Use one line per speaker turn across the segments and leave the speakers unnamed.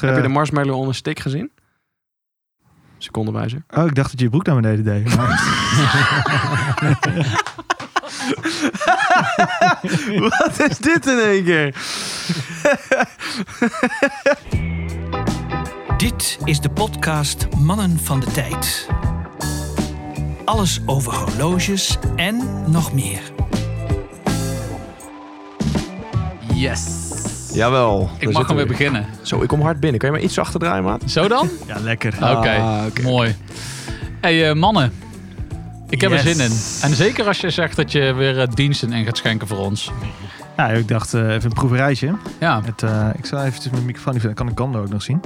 Heb je de marshmallow on een stick gezien? Secondenwijzer.
Oh, ik dacht dat je je broek naar beneden deed. maar-
Wat is dit in één keer?
Dit is de podcast Mannen van de Tijd. Alles over horloges en nog meer.
Yes.
Jawel.
Ik mag hem weer beginnen.
Zo, ik kom hard binnen. Kan je maar iets achter draaien, maat?
Zo dan?
ja, lekker.
Oké,
Ah.
mooi. hey, eh, mannen. Ik heb er
Yes.
zin in. En zeker als je zegt dat je weer eh, diensten in gaat schenken voor ons.
Nou, ik dacht eh, even een proeverijtje.
Ja,
Het, eh, ik zal eventjes mijn microfoon even... Dan kan ik Gando ook nog zien.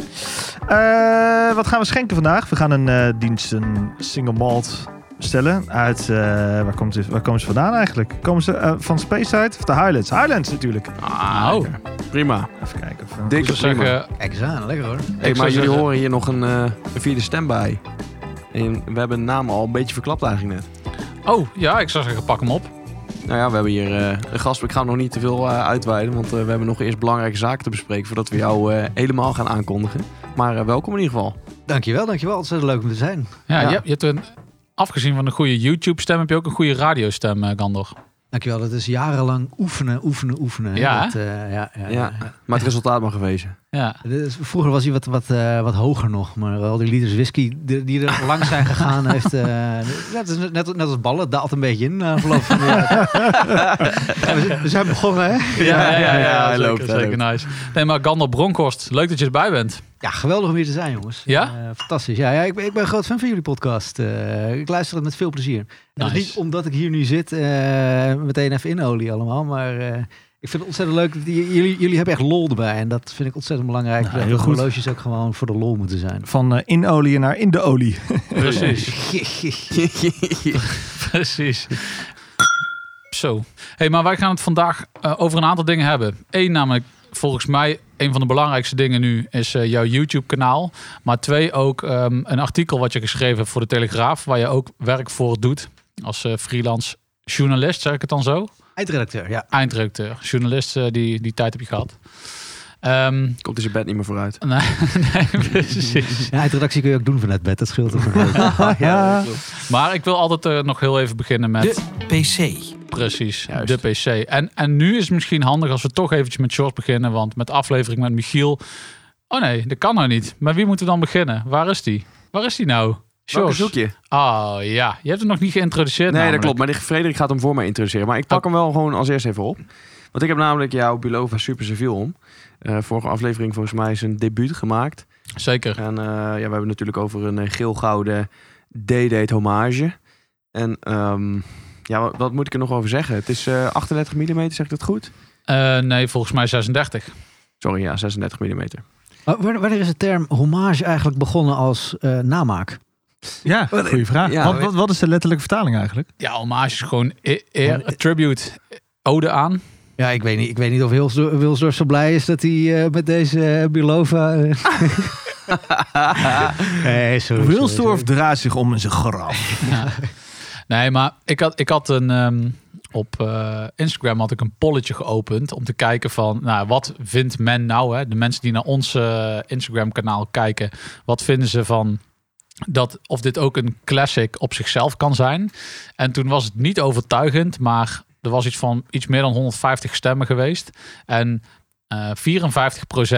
Eh, wat gaan we schenken vandaag? We gaan een eh, dienst, een single malt stellen uit... eh, waar, komt dit, waar komen ze vandaan eigenlijk? Komen ze eh, van Speyside of de Highlands? Highlands natuurlijk.
Ah,
Oh.
lekker. Prima.
Even kijken. Of, eh,
ik
Dikke
zou
prima.
zeggen,
Examen, lekker hoor.
Hey, maar
ik zou
jullie
zeggen-
horen hier nog een, eh, een vierde stem bij. En we hebben de naam al een beetje verklapt eigenlijk net.
oh ja, ik zou zeggen, pak hem op.
Nou ja, we hebben hier eh, een gast. Ik ga hem nog niet te veel eh, uitweiden, want eh, we hebben nog eerst belangrijke zaken te bespreken voordat we jou eh, helemaal gaan aankondigen. Maar eh, welkom in ieder geval.
Dankjewel, dankjewel. Ontzettend leuk om te zijn.
Ja,
Ja.
Je, hebt- je hebt een, afgezien van een goede YouTube-stem, heb je ook een goede radiostem, eh Gandor.
Dankjewel, dat is jarenlang oefenen, oefenen, oefenen. hè.
Ja, hè?
Dat, eh, ja,
Ja,
ja, ja.
maar het resultaat mag gewezen.
Ja.
Dit is- vroeger was hij wat, wat, eh, wat hoger nog, maar al die liters whisky die, die er lang zijn gegaan heeft... eh, ja, het is net, net als ballen, het daalt een beetje in na verloop van de jaren. Ja, we, zijn- we zijn begonnen, hè?
ja, ja, hij
zeker,
loopt, hij
zeker nice. Nee, maar Gandor Bronkhorst, leuk dat je erbij bent.
Ja, geweldig om hier te zijn, jongens.
Ja?
Eh, fantastisch. Ja, ja ik, ben, ik ben een groot fan van jullie podcast. Eh, ik luister het met veel plezier. En dat is
Nice.
niet omdat ik hier nu zit, eh, meteen even inolie allemaal. Maar eh, ik vind het ontzettend leuk. dat j- jullie, jullie hebben echt lol erbij. En dat vind ik ontzettend belangrijk.
Nou,
dat
heel
de
goed.
horloges ook gewoon voor de lol moeten zijn.
Van eh, in olie naar in de olie.
Precies. Precies. Zo. Hey, maar wij gaan het vandaag eh, over een aantal dingen hebben. Eén, namelijk volgens mij een van de belangrijkste dingen nu is eh, jouw YouTube-kanaal. Maar twee, ook ehm, een artikel wat je geschreven hebt voor de Telegraaf, waar je ook werk voor doet als eh, freelance journalist, zeg ik het dan zo?
Eindredacteur, ja.
Eindredacteur, journalist, eh, die, die tijd heb je gehad. Ehm,
Komt hij zijn bed niet meer vooruit.
nee, nee, precies.
ja. Eindredactie kun je ook doen vanuit bed. Dat scheelt ook. een
ja,
Maar ik wil altijd eh, nog heel even beginnen met...
De PC.
Precies,
Juist.
de PC. En, en nu is het misschien handig als we toch eventjes met George beginnen, want met de aflevering met Michiel. Oh nee, dat kan nou niet. Maar wie moeten we dan beginnen? Waar is die? Waar is die nou?
Welke
George.
zoek je?
Oh ja, je hebt hem nog niet geïntroduceerd.
Nee, dat
namelijk.
klopt. Maar die- Frederik gaat hem voor mij introduceren. Maar ik pak
Oh.
hem wel gewoon als eerst even op. Want ik heb namelijk jouw Bulova Super Civiel om. Eh, vorige aflevering volgens mij zijn debuut gemaakt.
Zeker.
En eh, ja, we hebben het natuurlijk over een eh, geel-gouden D-date hommage. En ehm, ja, wat, wat moet ik er nog over zeggen? Het is eh, 38 mm, zeg ik dat goed?
Eh, nee, volgens mij 36.
Sorry, ja, 36 mm.
Maar wanneer wanneer is de term hommage eigenlijk begonnen als eh, namaak?
ja goede vraag.
Ja,
wat, wat, wat is de letterlijke vertaling eigenlijk?
Ja, hommage is gewoon e- eer, tribute, eh, ode aan.
Ja, ik weet niet, ik weet niet of Wilsdorf, Wilsdorf zo blij is dat hij eh, met deze eh, Bulova... eh, nee, sorry, sorry,
Wilsdorf draait zich om in zijn graf.
Nee, maar ik had, ik had een. ehm, op eh, Instagram had ik een polletje geopend om te kijken van, nou, wat vindt men nou? Hè? De mensen die naar ons eh, Instagram-kanaal kijken, wat vinden ze van dat of dit ook een classic op zichzelf kan zijn? En toen was het niet overtuigend, maar er was iets van iets meer dan 150 stemmen geweest en eh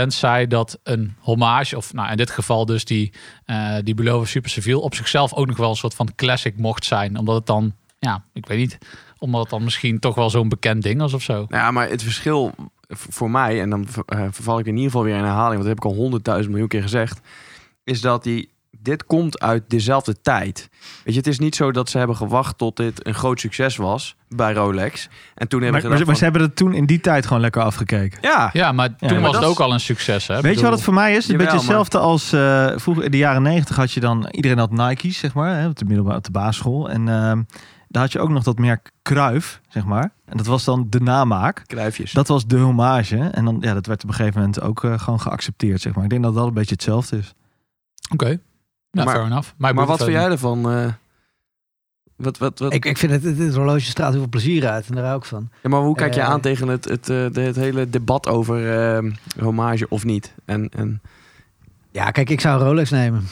54% zei dat een hommage, of nou in dit geval dus die, eh die Bulova Super Civil, op zichzelf ook nog wel een soort van classic mocht zijn. Omdat het dan, ja, ik weet niet, omdat het dan misschien toch wel zo'n bekend ding was of zo.
Nou ja, maar het verschil v- voor mij, en dan v- eh, verval ik in ieder geval weer in herhaling, want dat heb ik al honderdduizend miljoen keer gezegd, is dat die, dit komt uit dezelfde tijd. Weet je, het is niet zo dat ze hebben gewacht tot dit een groot succes was bij Rolex. En toen
Maar,
hebben
maar ze-
ze
maar ze hebben dat toen in die tijd gewoon lekker afgekeken.
Ja,
Ja, maar toen
maar
was
dat
het ook
is-
al een succes, hè?
Weet je wat het voor mij is? Een
Jawel,
beetje hetzelfde als eh, vroeger in de jaren negentig had je dan iedereen had Nike's zeg maar, hè, op de middelbare, op de basisschool en ehm, daar had je ook nog dat merk Kruif zeg maar, en dat was dan de namaak.
kruifjes.
Dat was de hommage en dan ja, dat werd op een gegeven moment ook eh, gewoon geaccepteerd zeg maar. Ik denk dat dat een beetje hetzelfde is.
Oké,
Maar-
nou, fair enough. ik
maar
bedoel
wat
het
vind jij
verder
ervan? eh? wat, wat, wat?
Ik, ik vind het, dit horloge straalt heel veel plezier uit en daar hou ik van.
Ja, maar hoe kijk je
eh,
ehm, aan tegen het, het, eh, de- het hele debat over eh, hommage of niet? En, en
Ja, kijk, ik zou een Rolex nemen.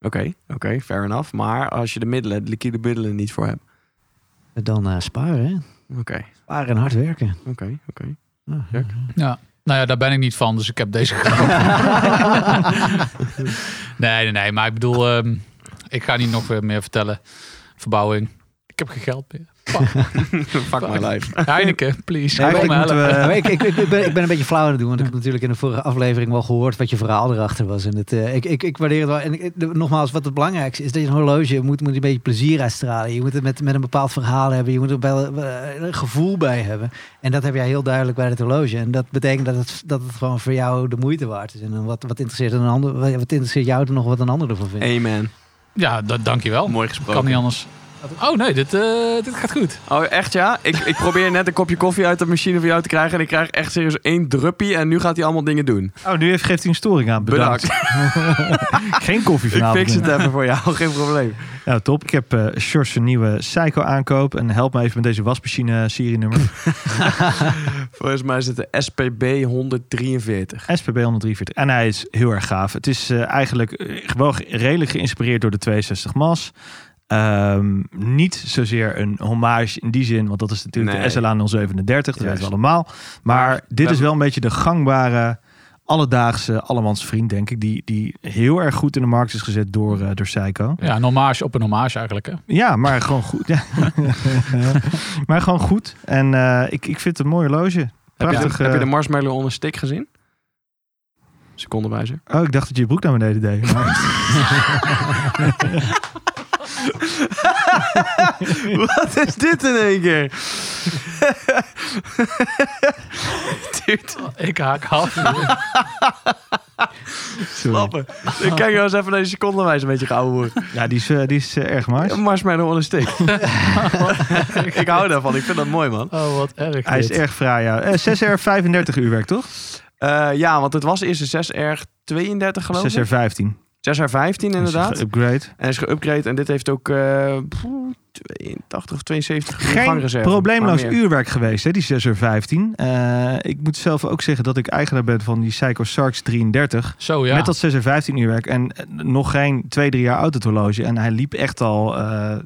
Oké, oké, fair enough. Maar als je de middelen, de liquide middelen niet voor hebt.
Dan eh, sparen, hè?
Oké,
Sparen en hard werken.
oké, oké.
Ja.
Ja.
Ja. Nou ja, daar ben ik niet van, dus ik heb deze gekocht. nee, nee, nee. Maar ik bedoel, ehm, ik ga niet nog weer meer vertellen. Verbouwing. Ik heb geen geld meer.
Fuck my life.
Heineken, please. Kom
Eigenlijk
me
moeten
helpen.
Ja, maar
we...
ik, ik, ik, ben, ik ben een beetje flauw aan het doen, want ik heb natuurlijk in de vorige aflevering wel gehoord wat je verhaal erachter was. En het, eh, ik, ik, ik waardeer het wel. En ik- ik- de- nogmaals, wat het belangrijkste is, dat je een horloge moet, moet een beetje plezier uitstralen. Je moet het met, met een bepaald verhaal hebben, je moet er wel eh, een gevoel bij hebben. En dat heb jij heel duidelijk bij het horloge. En dat betekent dat het, dat het gewoon voor jou de moeite waard is. En dan wat, wat, interesseert, een ander, wat interesseert jou er nog wat een ander ervan vindt?
Amen.
Ja, dat, dankjewel.
Mooi
Oh, Kan niet
gesproken.
anders. Oh nee, dit, eh, dit gaat goed.
Oh, echt ja? Ik, ik probeer net een kopje koffie uit de machine voor jou te krijgen. En ik krijg echt serieus één druppie. En nu gaat hij allemaal dingen doen.
Oh, nu heeft, geeft hij een storing aan. Bedankt.
Bedankt.
Geen koffie
Ik
vanavond.
fix
meer.
het even voor jou. Geen probleem.
Nou, top. Ik heb eh Sjors een nieuwe Psycho aankoop. En help me even met deze wasmachine serienummer.
Volgens mij is het de SPB 143.
SPB 143. En hij is heel erg gaaf. Het is eh, eigenlijk eh, wel ge- redelijk geïnspireerd door de 62 Mas. Ehm, niet zozeer een hommage in die zin, want dat is natuurlijk
Nee.
de SLA 037, dat
Juist.
weten we allemaal. Maar
Maar
dit
we-
is wel een beetje de gangbare, alledaagse, allemans vriend, denk ik, die, die heel erg goed in de markt is gezet door, eh, door Seiko.
Ja, een hommage op een hommage eigenlijk. Hè?
Ja, maar gewoon goed. Ja. maar gewoon goed. En eh, ik, ik vind het een mooi horloge.
Heb je,
Prachtig.
de, heb je
eh,
de marshmallow on a stick gezien? Secondenwijzer.
Oh, ik dacht dat je je broek naar beneden deed. Maar-
Wat is dit in één keer? Dude,
Oh, Ik haak af.
Sorry.
klappen. Ik kijk nou eens even naar die secondenwijzer met je gouden woord.
Ja, die is, eh, die is eh, erg maar.
Marshmallow on a stick. ik hou daarvan. Ik vind dat mooi, man.
Oh, wat erg.
Hij is
dit.
erg fraai, ja. Eh, 6R35 uurwerk, toch?
Eh, ja, want het was eerst een 6R32 geloof ik.
6R15.
6R15 inderdaad.
Upgrade.
En is geüpgrade. En dit heeft ook eh, pff, 82 of 72
Geen
vangreserve.
probleemloos
Maar meer.
uurwerk geweest, hè, die 6R15. Eh, ik moet zelf ook zeggen dat ik eigenaar ben van die Psycho Sarks 33.
Zo ja.
Met dat 615 uurwerk en eh, nog geen twee, drie jaar oud het horloge. En hij liep echt al, eh,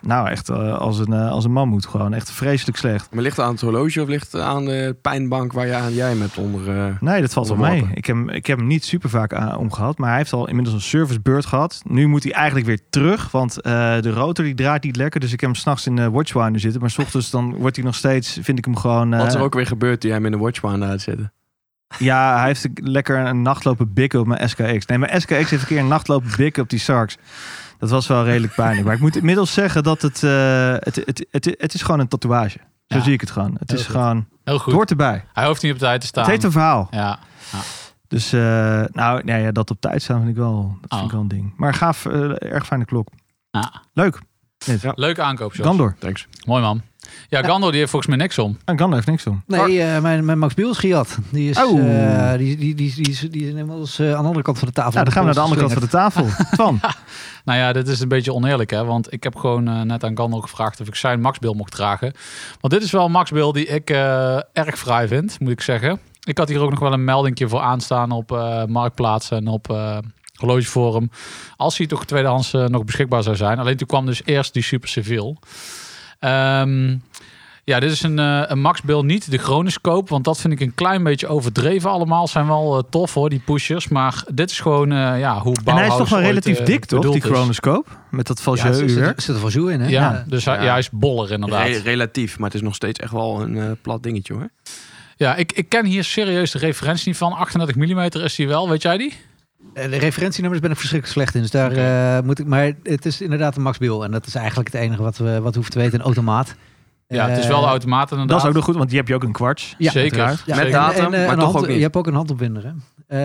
nou echt eh, als, een, eh, als een man moet gewoon. Echt vreselijk slecht.
Maar ligt het aan het horloge of ligt het aan de pijnbank waar je aan jij hem hebt onder... eh,
Nee, dat valt wel mee.
Onderworpen.
Ik heb, hem- ik heb hem niet super vaak aan- omgehad. Maar hij heeft al inmiddels een servicebeurt gehad. Nu moet hij eigenlijk weer terug. Want eh, de rotor die draait niet lekker. Dus ik heb hem s'nachts in de watchwinder zitten. Maar s ochtends dan wordt hij nog steeds, vind ik hem gewoon... eh,
Wat is er ook weer gebeurd toen jij hem in de watchband had zitten?
Ja, hij heeft lekker een nacht lopen bikken op mijn SKX. Nee, mijn SKX heeft een keer een nacht lopen bikken op die Sarks. Dat was wel redelijk pijnlijk. Maar ik moet inmiddels zeggen dat het... eh, het, het, het, het is gewoon een tatoeage. Zo
Ja.
zie ik het gewoon. Het
Heel
is
goed.
gewoon...
Heel
Het
goed.
hoort erbij.
Hij hoeft niet op tijd te staan.
Het heeft een verhaal.
Ja.
Dus eh, nou, nee, ja, dat op tijd staan vind ik wel, dat vind
Oh.
ik wel een ding. Maar gaaf, eh, erg fijne klok.
Ah.
Leuk.
Leuke aankoop, Jos.
Gandor.
Thanks.
Mooi man. Ja, Gandor die heeft volgens mij niks om.
Ah, Gandor heeft niks om.
Nee, eh, mijn, mijn Max Biel is gejat. Die is,
Oh.
eh, die, die, die, die is, die is inmiddels eh, aan de andere kant van de tafel.
Nou, dan gaan we naar de andere kant van de tafel. Twan.
Nou ja, dit is een beetje oneerlijk hè. Want ik heb gewoon eh, net aan Gandor gevraagd of ik zijn Maxbil mocht dragen. Want dit is wel een Maxbil die ik eh, erg fraai vind, moet ik zeggen. Ik had hier ook nog wel een meldingje voor aanstaan op eh Marktplaats en op eh Horlogeforum. Als hij toch tweedehands eh, nog beschikbaar zou zijn. Alleen toen kwam dus eerst die Super Civil. Ehm, ja, dit is een, eh een Max Bill, niet de Chronoscoop. Want dat vind ik een klein beetje overdreven allemaal. Zijn wel eh, tof hoor, die pushers. Maar dit is gewoon eh, ja, hoe
En hij
Bauhaus
is toch wel
ooit,
relatief
eh,
dik, toch?
bedoeld
Die
is.
chronoscoop. Met dat
Ja,
valse
zit,
uur.
zit, zit er van zo in, hè?
Ja, dus hij,
Ja.
ja. hij is boller inderdaad.
Re- relatief, maar het is nog steeds echt wel een eh, plat dingetje hoor.
Ja, ik, ik ken hier serieus de referentie niet van. 38 mm is die wel, weet jij die?
Eh, De referentienummers ben ik verschrikkelijk slecht in. Dus daar eh, moet ik. Maar het is inderdaad een Max Biel. En dat is eigenlijk het enige wat we wat we hoeven te weten. Een automaat.
Ja, het is
Eh,
wel de automaat inderdaad.
Dat is ook nog goed, want die heb je ook een kwarts.
Ja,
Zeker.
uiteraard.
Ja,
Met
en-
datum,
en, eh,
maar
een
toch
hand-
ook niet.
Je hebt ook een handopwinder, hè?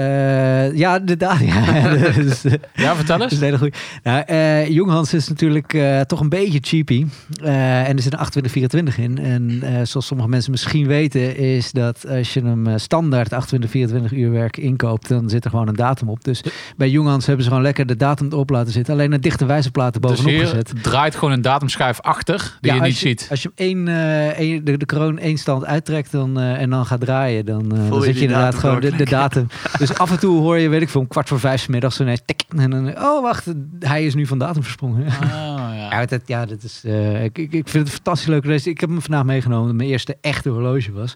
Eh, ja, de datum. Ja, dus, eh,
Ja, vertel
Dat is
eens.
een hele goeie. Nou, eh, Jonghans is natuurlijk eh, toch een beetje cheapy. Eh, en er zit een 28-24 in. En eh, zoals sommige mensen misschien weten, is dat als je hem eh, standaard 28-24 uur werk inkoopt, dan zit er gewoon een datum op. Dus bij Jonghans hebben ze gewoon lekker de datum erop laten zitten. Alleen een dichte wijzerplaat er
Dus
bovenop
hier
gezet.
draait gewoon een datumschijf achter die
Ja,
je
als
niet ziet.
Als je hem één, eh, één- de, de kroon één stand uittrekt dan, eh, en dan gaat draaien, dan, eh,
Voel
dan
je
zit je
die
inderdaad
datum
gewoon de, de datum. Dus af en toe hoor je weet ik veel, om kwart voor vijf 's middags ineens tik. En dan, oh wacht, hij is nu van datum versprongen.
Ah, ja.
Ja, dat, ja, dat is, eh, ik, ik ik vind het een fantastisch leuke race. Ik heb hem vandaag meegenomen, omdat mijn eerste echte horloge was.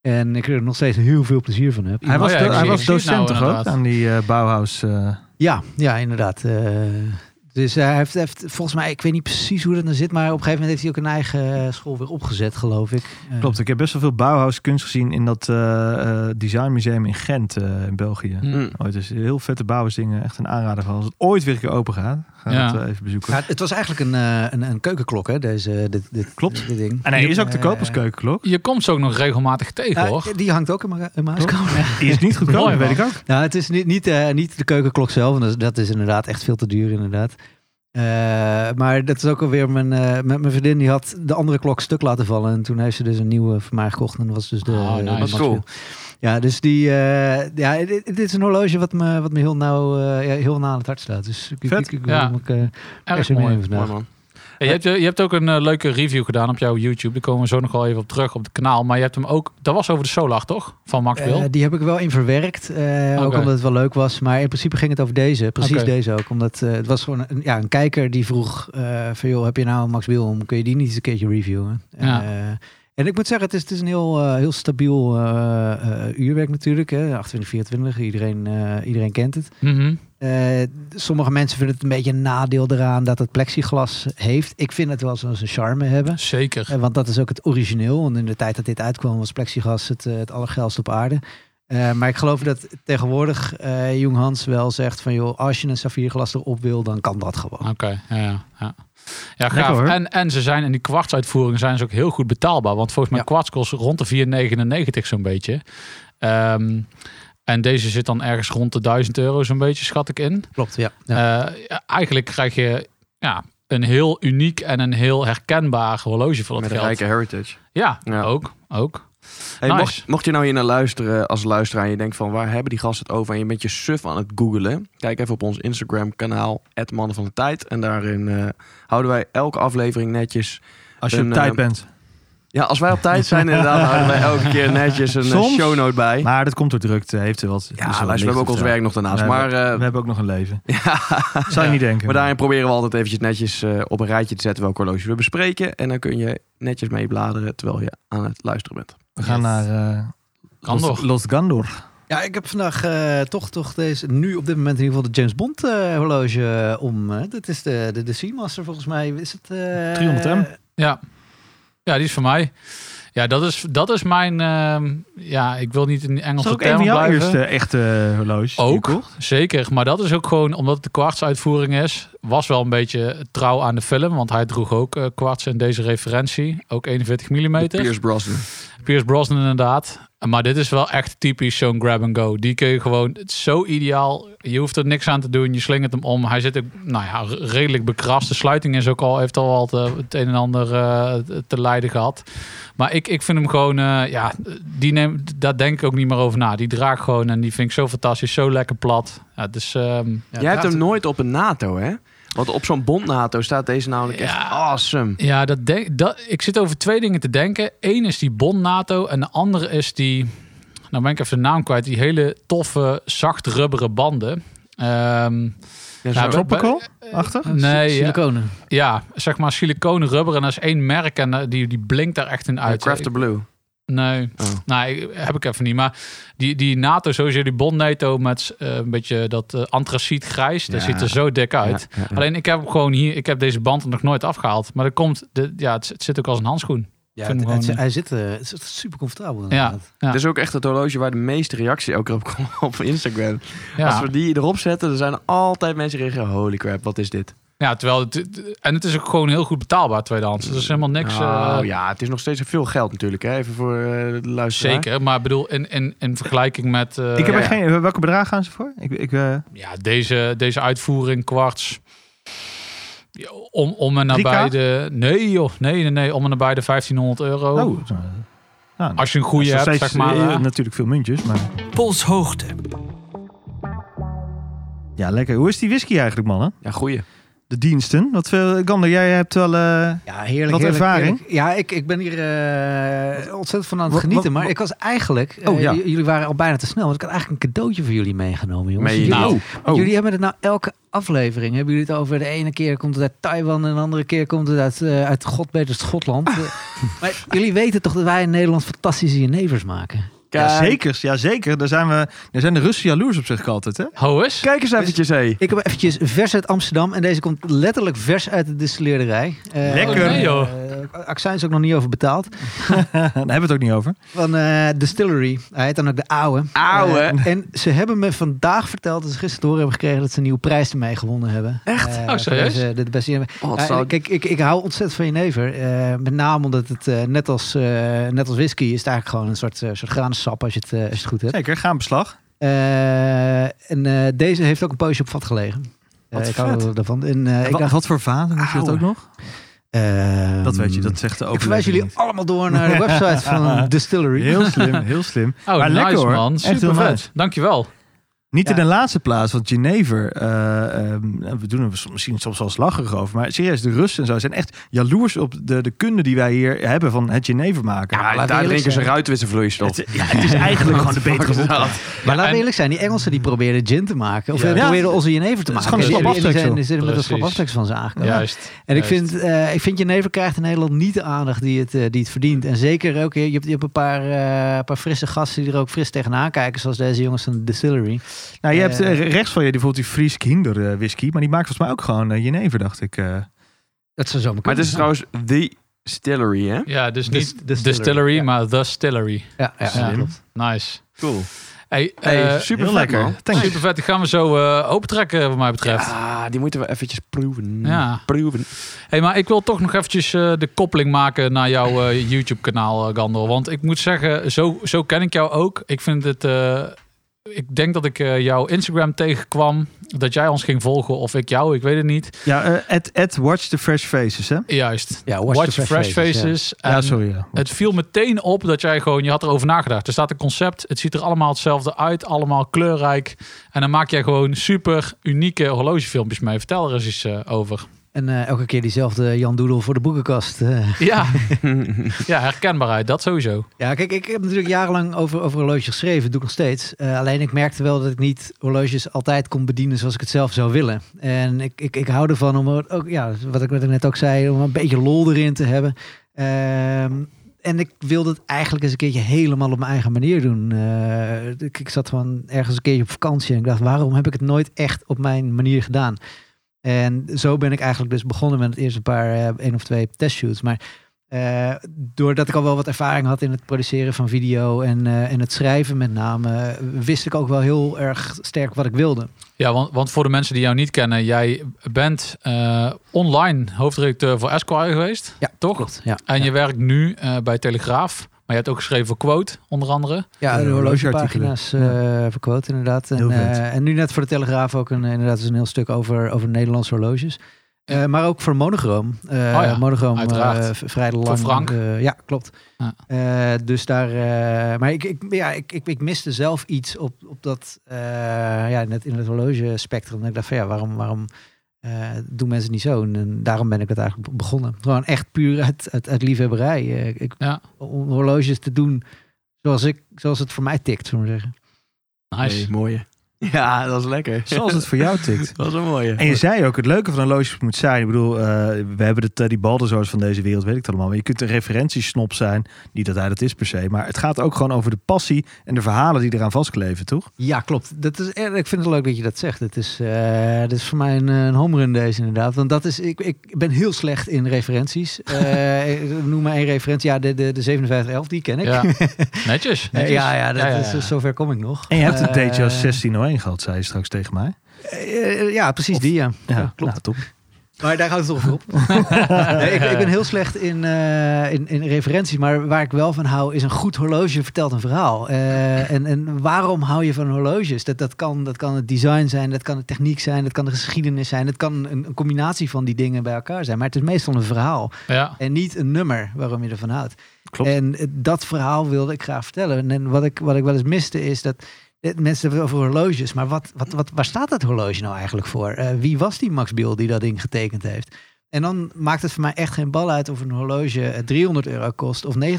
En ik er nog steeds heel veel plezier van heb.
Hij was,
ja,
do-
ik
hij
zie-
was
ik zie het
docent
nou
toch ook
inderdaad.
aan die eh Bauhaus. eh,
Ja, ja, inderdaad. eh, dus hij heeft, heeft, volgens mij, ik weet niet precies hoe dat nou zit, maar op een gegeven moment heeft hij ook een eigen eh, school weer opgezet, geloof ik. Eh,
Klopt, ik heb best wel veel Bauhaus kunst gezien in dat eh, eh, designmuseum in Gent eh, in België.
Hm.
Mm.
Oh, het is heel vette Bauhaus dingen, echt een aanrader van. Als het ooit weer een keer open gaat, ga ik
Ja.
het eh, even bezoeken.
Ja, het was eigenlijk een, eh, een, een keukenklok, hè? Deze, dit, dit,
Klopt.
Dit ding.
en hij Ah, is ook te koop als
Eh,
keukenklok.
Je komt ze ook nog regelmatig tegen,
nou,
hoor.
die hangt ook in mijn, in mijn huiskamer.
Die is niet goedkoop,
Mooi,
dat weet
man.
ik ook.
Nou, het is niet, niet, eh, niet de keukenklok zelf, want dat is- dat is inderdaad echt veel te duur, inderdaad. Eh, maar dat is ook alweer mijn, eh, mijn, mijn vriendin, die had de andere klok stuk laten vallen. En toen heeft ze dus een nieuwe van mij gekocht. En dat was dus de...
Oh,
eh,
nice.
Wat cool.
Ja, dus die... eh, ja, dit, dit is een horloge wat me, wat me heel nauw eh, ja, heel na aan het hart staat. Dus ik, ik,
Vet.
ik, ik
Ja.
wil hem ook, eh,
Erg
persen
mooi.
meenemen
Mooi
vandaag.
man.
Ja, je, hebt, eh, je hebt ook een eh, leuke review gedaan op jouw YouTube. Daar komen we zo nog wel even op terug op het kanaal. Maar je hebt hem ook... Dat was over de Solar, toch? Van Max Wil.
Eh, die heb ik wel in verwerkt. eh, Ook
Oké.
omdat het wel leuk was. Maar in principe ging het over deze. Precies
Oké.
deze ook. Omdat eh, het was gewoon een, ja, een kijker die vroeg eh, van joh, heb je nou een Max Wilhelm? Kun je die niet eens een keertje reviewen?
Ja.
Eh, en ik moet zeggen, het is, het is een heel, eh, heel stabiel eh, eh, uurwerk natuurlijk. Hè? 28, 24, iedereen, eh, iedereen kent het.
Mhm.
Eh, sommige mensen vinden het een beetje een nadeel eraan dat het plexiglas heeft. Ik vind het wel zoals een charme hebben.
Zeker.
Eh, Want dat is ook het origineel. Want in de tijd dat dit uitkwam was plexiglas het, eh, het allergeilste op aarde. Eh, maar ik geloof dat tegenwoordig eh Jong Hans wel zegt van... joh, als je een saffierglas erop wil, dan kan dat gewoon.
Oké, ja, ja, ja. Ja,
Lekker,
gaaf.
hoor.
En, en ze zijn in die kwartsuitvoeringen zijn ze ook heel goed betaalbaar. Want volgens mij
Ja.
kwarts kost rond de 4,99 zo'n beetje. Ehm, en deze zit dan ergens rond de 1000 euro zo'n beetje, schat ik in.
Klopt, ja.
Eh, ja, eigenlijk krijg je ja, een heel uniek en een heel herkenbaar horloge voor dat
Met een
geld.
rijke heritage.
Ja,
Ja.
ook. ook.
Hey,
Nice.
mocht, mocht je nou hier naar luisteren als luisteraar en je denkt van waar hebben die gasten het over en je bent je suf aan het googelen, kijk even op ons Instagram kanaal Mannen van de Tijd en daarin eh, houden wij elke aflevering netjes.
Als je
Een,
op tijd
eh,
bent.
Ja, als wij op tijd zijn inderdaad houden wij elke keer netjes een eh,
Soms.
shownote bij.
Maar dat komt door drukte, heeft er wat.
ja,
is wel
luister, we hebben ook
licht
ons
of zo.
werk nog daarnaast.
Nee,
maar, eh,
We hebben ook nog een leven.
ja,
Zou je niet denken.
maar daarin proberen we altijd eventjes netjes eh, op een rijtje te zetten welk horloge we bespreken. En dan kun je netjes mee bladeren terwijl je aan het luisteren bent.
We gaan naar eh,
Gandor.
Los, Los Gandor.
Ja, ik heb vandaag eh, toch, toch deze, nu op dit moment in ieder geval de James Bond eh, horloge eh, om. eh, dat is de, de, de Seamaster volgens mij. Is het... eh,
300M?
Ja. ja, die is voor mij. Ja, dat is, dat is mijn... ehm, ja, ik wil niet in die
Dat is
Engelse
ook een
termen
van jouw
blijven.
eerste echte eh, horloges. die je
Ook,
kocht.
zeker. Maar dat is ook gewoon omdat het de kwartsuitvoering is. Was wel een beetje trouw aan de film. Want hij droeg ook eh kwarts in deze referentie. Ook 41 mm.
De Pierce Brosnan.
Pierce Brosnan inderdaad. Maar dit is wel echt typisch zo'n grab-and-go. Die kun je gewoon... Het is zo ideaal. Je hoeft er niks aan te doen. Je slingert hem om. Hij zit ook nou ja, re- redelijk bekrast. De sluiting is ook al, heeft al wat eh, het een en ander eh, te lijden gehad. Maar ik, ik vind hem gewoon... eh, ja, die neem, daar denk ik ook niet meer over na. Die draag gewoon en die vind ik zo fantastisch. Zo lekker plat. Ja, het is... ehm,
Ja,
Jij hebt
draad-
hem nooit op een NATO, hè? Want op zo'n bond NATO staat deze namelijk echt
Ja.
awesome.
Ja, dat denk, dat, ik zit over twee dingen te denken. Eén is die Bon-NATO en de andere is die... Nou ben ik even de naam kwijt. Die hele toffe, zacht rubberen banden. Ehm,
Ja,
Nou,
zo.
we-
Tropical? Achter?
nee, ja,
Siliconen.
ja, zeg maar siliconen rubber. En dat is één merk en eh, die, die blinkt daar echt in
Ja,
uit.
Craft the Blue.
Nee,
Oh.
nee, heb ik even niet. Maar die, die NATO, sowieso die Bon-NATO met eh, een beetje dat eh, antraciet grijs. Dat
Ja.
ziet er zo dik uit.
Ja, ja, ja.
Alleen ik heb hem gewoon hier, ik heb deze band er nog nooit afgehaald. Maar dat komt, de, ja, het, het zit ook als een handschoen.
Ja,
Vind
het-
hem
het-
gewoon,
hij zit, eh, het is super comfortabel
Ja,
inderdaad.
ja.
Het is ook echt het horloge waar de meeste reactie ook op kwam op Instagram.
ja.
Als we die erop zetten, dan zijn er altijd mensen die zeggen... Holy crap, wat is dit?
Ja, terwijl het, het- en het is ook gewoon heel goed betaalbaar tweedehands. Dus er is helemaal niks.
Nou,
Oh,
eh,
ja, het is nog steeds veel geld natuurlijk. Hè? Even voor eh, de luisteraar.
Zeker, maar ik bedoel, in, in, in vergelijking met eh,
ik heb
ja,
er
ja.
geen... Welke bedragen gaan ze voor? Ik, ik, eh,
ja, deze, deze uitvoering, kwarts. ja, Om, om en nabij
3K?
de. Nee, joh. Nee, nee, nee. Om en nabij de 1500 euro.
oh. eh, nou,
Als je een goede
dat is nog
hebt,
steeds,
zeg maar.
eh,
eh,
natuurlijk veel muntjes, maar...
polshoogte,
Ja, lekker. Hoe is die whisky eigenlijk, mannen?
Ja, goeie.
de diensten. Wat, eh, Gander, jij hebt wel... eh,
Ja, heerlijk.
Wat
heerlijk,
ervaring.
heerlijk. Ja, ik, ik ben hier eh, ontzettend van aan het
Wat-
genieten.
wat-
maar
wat-
ik was eigenlijk... eh,
Oh, ja.
j- jullie waren al bijna te snel. Want ik had eigenlijk een cadeautje voor jullie meegenomen, jongens.
Meen je
jullie,
niet?
Nou,
Oh.
jullie hebben het nou elke aflevering. Hebben jullie het over de ene keer komt het uit Taiwan... en de andere keer komt het uit, eh uit godbeter Schotland. Eh, maar jullie weten toch dat wij in Nederland fantastische jenevers maken?
ja, zeker, ja, zeker. Daar zijn, we, daar zijn de Russen jaloers op zich altijd, hè?
Ho eens.
Kijk eens eventjes, hé.
Ik heb eventjes vers uit Amsterdam. En deze komt letterlijk vers uit de distilleerderij. Eh,
Lekker.
eh,
Oh, nee, joh.
eh, Accijns ook nog niet over betaald.
Daar hebben we het ook niet over.
Van eh, Distillery. Hij heet dan ook de Oude.
Ouwe?
Eh, en ze hebben me vandaag verteld, dat ze gisteren te horen hebben gekregen, dat ze een nieuwe prijs ermee gewonnen hebben. Eh, Echt?
Oh, serieus?
de, de beste jenever.
Oh, wat
eh,
Ja,
zou-
kijk, ik, ik hou ontzettend van jenever. Eh, met name omdat het, eh, net, als, eh, net als whisky, is het eigenlijk gewoon een soort, eh, soort granensap als je het, eh, als je het goed hebt.
Zeker, gaan beslag.
Eh, en eh, deze heeft ook een poosje op vat gelegen. Eh,
Wat
ik hou
vet.
wel daarvan. En, eh, ik dacht,
voor vaten weet je dat ook nog?
eh,
Dat weet je, dat zegt de
Ik verwijs
overlevering
jullie
niet.
allemaal door naar de website van Distillery.
Heel slim, heel slim.
Oh,
Maar
nice
lekker, hoor.
man.
Echt heel
Super
nice.
vet. Dankjewel.
Niet in
Ja.
de laatste plaats, want Genever, eh, ehm, we doen er soms- misschien soms wel slaggerig over, maar serieus, de Russen en zo zijn echt jaloers op de, de kunde die wij hier hebben van het Genever maken.
Ja,
laten we
daar
eerlijk
drinken ze
zijn.
ruitwisselvloeistof.
het, ja, het is eigenlijk gewoon de betere
Fuck is
wodka.
dat?
Maar laten
en-
we eerlijk zijn, die Engelsen die probeerden gin te maken. Of
Ja.
eh,
Ja.
probeerden onze jenever te
Het is
maken.
gewoon een
En die- die- die zijn-
slapafdeksel.
die zijn met een
Precies.
slapafdeksel van ze aangekomen.
Juist.
En ik
juist.
vind, eh, ik vind jenever krijgt in Nederland niet de aandacht die het, eh, die het verdient. En zeker ook, je hebt, je hebt een paar, eh, paar frisse gasten die er ook fris tegenaan kijken. Zoals deze jongens van de distillery.
Nou, je hebt
Eh.
eh, rechts van je die bijvoorbeeld die Fries Kinder eh, whisky, maar die maakt volgens mij ook gewoon eh, Genever, dacht ik. eh.
Dat zou zomaar
Maar het
kunnen.
is trouwens The Distillery, hè?
Ja, dus
Dis-
niet
distillery,
distillery,
ja.
maar the distillery.
Ja, ja, ja,
Slim.
klopt.
Nice.
Cool.
Hey,
Hey,
eh,
super
heel
vet,
lekker.
man.
Thanks.
super vet. Die gaan we zo eh opentrekken, wat mij betreft.
Ah, die moeten we eventjes proeven.
Ja.
Proeven.
Hey, maar ik wil toch nog eventjes eh, de koppeling maken naar jouw eh, YouTube-kanaal, eh, Gander. Want ik moet zeggen, zo, zo ken ik jou ook. Ik vind het. eh, ik denk dat ik eh, jouw Instagram tegenkwam. Dat jij ons ging volgen of ik jou, ik weet het niet.
Ja, eh, at, at Watch the Fresh Faces, hè?
Juist.
Ja,
Watch, Fresh Faces.
ja.
En
ja, sorry. ja.
Het viel meteen op dat jij gewoon, je had erover nagedacht. Er staat een concept, het ziet er allemaal hetzelfde uit, allemaal kleurrijk. En dan maak jij gewoon super unieke horlogefilmpjes mee. Vertel er eens iets eh, over.
En eh, elke keer diezelfde Jan Doedel voor de boekenkast. eh.
Ja. ja, herkenbaarheid, dat sowieso.
Ja, kijk, ik heb natuurlijk jarenlang over, over horloges geschreven. Dat doe ik nog steeds. Eh, alleen ik merkte wel dat ik niet horloges altijd kon bedienen zoals ik het zelf zou willen. En ik, ik, ik hou ervan om er ook, ja, wat ik wat ik net ook zei, om een beetje lol erin te hebben. Ehm, en ik wilde het eigenlijk eens een keertje helemaal op mijn eigen manier doen. Eh, ik, ik zat gewoon ergens een keertje op vakantie en ik dacht, waarom heb ik het nooit echt op mijn manier gedaan? En zo ben ik eigenlijk dus begonnen met het eerste paar, eh, één of twee testshoots. Maar eh, doordat ik al wel wat ervaring had in het produceren van video en, eh, en het schrijven met name, eh, wist ik ook wel heel erg sterk wat ik wilde.
Ja, want, want voor de mensen die jou niet kennen, jij bent eh, online hoofdredacteur voor Esquire geweest.
Ja,
toch?
Klopt. Ja,
Oh En
ja.
je werkt nu eh, bij Telegraaf. Maar je hebt ook geschreven voor Quote, onder andere.
ja, de
eh,
horlogepagina's eh verquote inderdaad. En,
Heel vet.
eh, en nu net voor de Telegraaf ook een, inderdaad dus een heel stuk over, over Nederlandse horloges. Eh, maar ook voor Monogram. Eh
Oh ja,
Monogram eh,
uiteraard.
v- vrij lang.
Frank.
eh, ja, klopt.
Ja.
Eh, dus daar... eh, maar ik, ik, ja, ik, ik, ik miste zelf iets op, op dat... eh, ja, net in het horlogespectrum. En ik dacht van ja, waarom, waarom eh, doen mensen het niet zo? En, en daarom ben ik het eigenlijk be- begonnen. Gewoon echt puur uit, uit, uit liefhebberij. Eh, ik,
Ja.
Om horloges te doen zoals, ik, zoals het voor mij tikt, zullen we zeggen.
Nice.
Hey, mooie. Ja, dat is lekker.
Zoals het voor jou tikt.
Dat is een mooie.
En je zei ook, het leuke van horloges moet zijn. Ik bedoel, eh, we hebben de Teddy Baldassars van deze wereld, weet ik het allemaal. Maar je kunt een referentiesnop zijn. Niet dat hij dat is per se. Maar het gaat ook gewoon over de passie en de verhalen die eraan vastkleven, toch?
Ja, klopt. Dat is, eh, ik vind het leuk dat je dat zegt. Het is, eh dat is voor mij een, eh, een home run deze inderdaad. Want dat is, ik, ik ben heel slecht in referenties. Eh, eh, noem maar één referentie. Ja, de, de, de 5711, die ken ik.
Ja. Netjes. netjes.
Eh, ja, ja, dat
Ja, ja,
Is,
ja.
zover kom ik nog.
En je hebt een
Eh,
DJO 1601 gehad, zei je straks tegen mij.
eh, eh, ja, precies die, ja.
Ja,
klopt.
Nou, top.
Maar daar houdt het toch op. nee, ik, ik ben heel slecht in, eh, in, in referenties. Maar waar ik wel van hou is een goed horloge vertelt een verhaal. Eh, en, en waarom hou je van horloges? Dat, dat, kan, dat kan het design zijn, dat kan de techniek zijn, dat kan de geschiedenis zijn. Dat kan een, een combinatie van die dingen bij elkaar zijn. Maar het is meestal een verhaal
Ja.
en niet een nummer waarom je ervan houdt.
Klopt.
En eh, dat verhaal wilde ik graag vertellen. En- En wat ik, wat ik wel eens miste is dat eh, mensen hebben het over horloges, maar wat, wat, wat, waar staat dat horloge nou eigenlijk voor? Eh, wie was die Max Biel die dat ding getekend heeft? En dan maakt het voor mij echt geen bal uit of een horloge eh, 300 euro kost of 90.000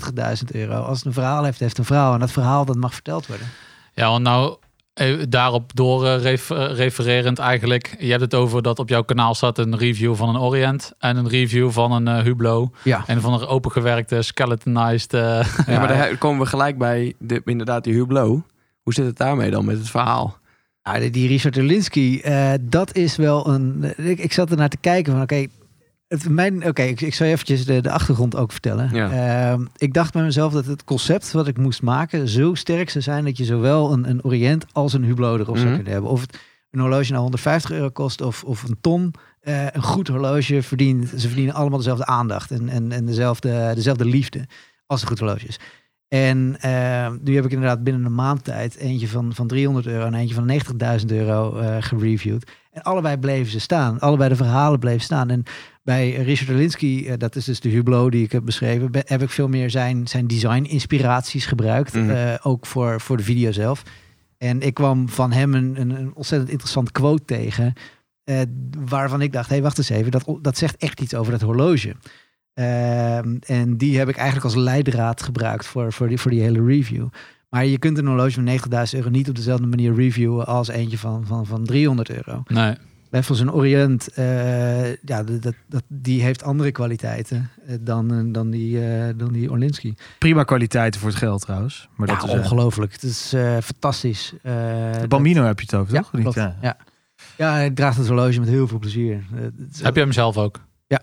euro. Als het een verhaal heeft, heeft een verhaal. En dat verhaal dat mag verteld worden.
Ja, want nou eh, daarop door eh, ref- eh, refererend eigenlijk. Je hebt het over dat op jouw kanaal staat een review van een Orient en een review van een eh, Hublot
Ja.
en van een opengewerkte skeletonized. eh,
Ja, maar daar komen we gelijk bij de, inderdaad die Hublot. Hoe zit het daarmee dan met het verhaal?
Ja, Ah, die- die Richard Erlinski, eh, dat is wel een. eh, Ik, ik zat ernaar te kijken van oké. het- mijn Oké, ik, ik zal je eventjes de, de achtergrond ook vertellen.
Ja.
Ehm, ik dacht bij mezelf dat het concept wat ik moest maken zo sterk zou zijn dat je zowel een, een Orient als een Hublot erop zou
Mhm.
kunnen hebben. Of het een horloge nou 150 euro kost of, of een ton. Eh, een goed horloge verdient, ze verdienen allemaal dezelfde aandacht en, en, en dezelfde, dezelfde liefde als een goed horloge is. En eh, nu heb ik inderdaad binnen een maand tijd eentje van, van 300 euro en eentje van 90.000 euro eh, gereviewd. En allebei bleven ze staan. Allebei de verhalen bleven staan. En bij Richard Olinsky, eh, dat is dus de Hublot die ik heb beschreven, be- heb ik veel meer zijn, zijn design-inspiraties gebruikt.
Mhm.
eh, ook voor, voor de video zelf. En ik kwam van hem een, een, een ontzettend interessant quote tegen. eh, waarvan ik dacht, hé, hey, wacht eens even, dat, dat zegt echt iets over dat horloge. Ehm, en die heb ik eigenlijk als leidraad gebruikt voor, voor, die, voor die hele review. Maar je kunt een horloge van 9000 euro niet op dezelfde manier reviewen als eentje van, van, van 300 euro.
nee.
Levels een Orient, eh, ja, dat, dat, dat- die heeft andere kwaliteiten eh, dan, eh, dan die, eh, dan die Orlinski.
Prima kwaliteiten voor het geld trouwens. Maar
Ja,
dat is, eh,
ongelooflijk. Het is eh, fantastisch. Eh,
de
dat-
Bambino heb je het over,
Ja,
toch? Niet,
klopt.
ja.
Ja. ja, hij draagt het horloge met heel veel plezier. Eh, het is- eh,
Heb je hem zelf ook?
ja,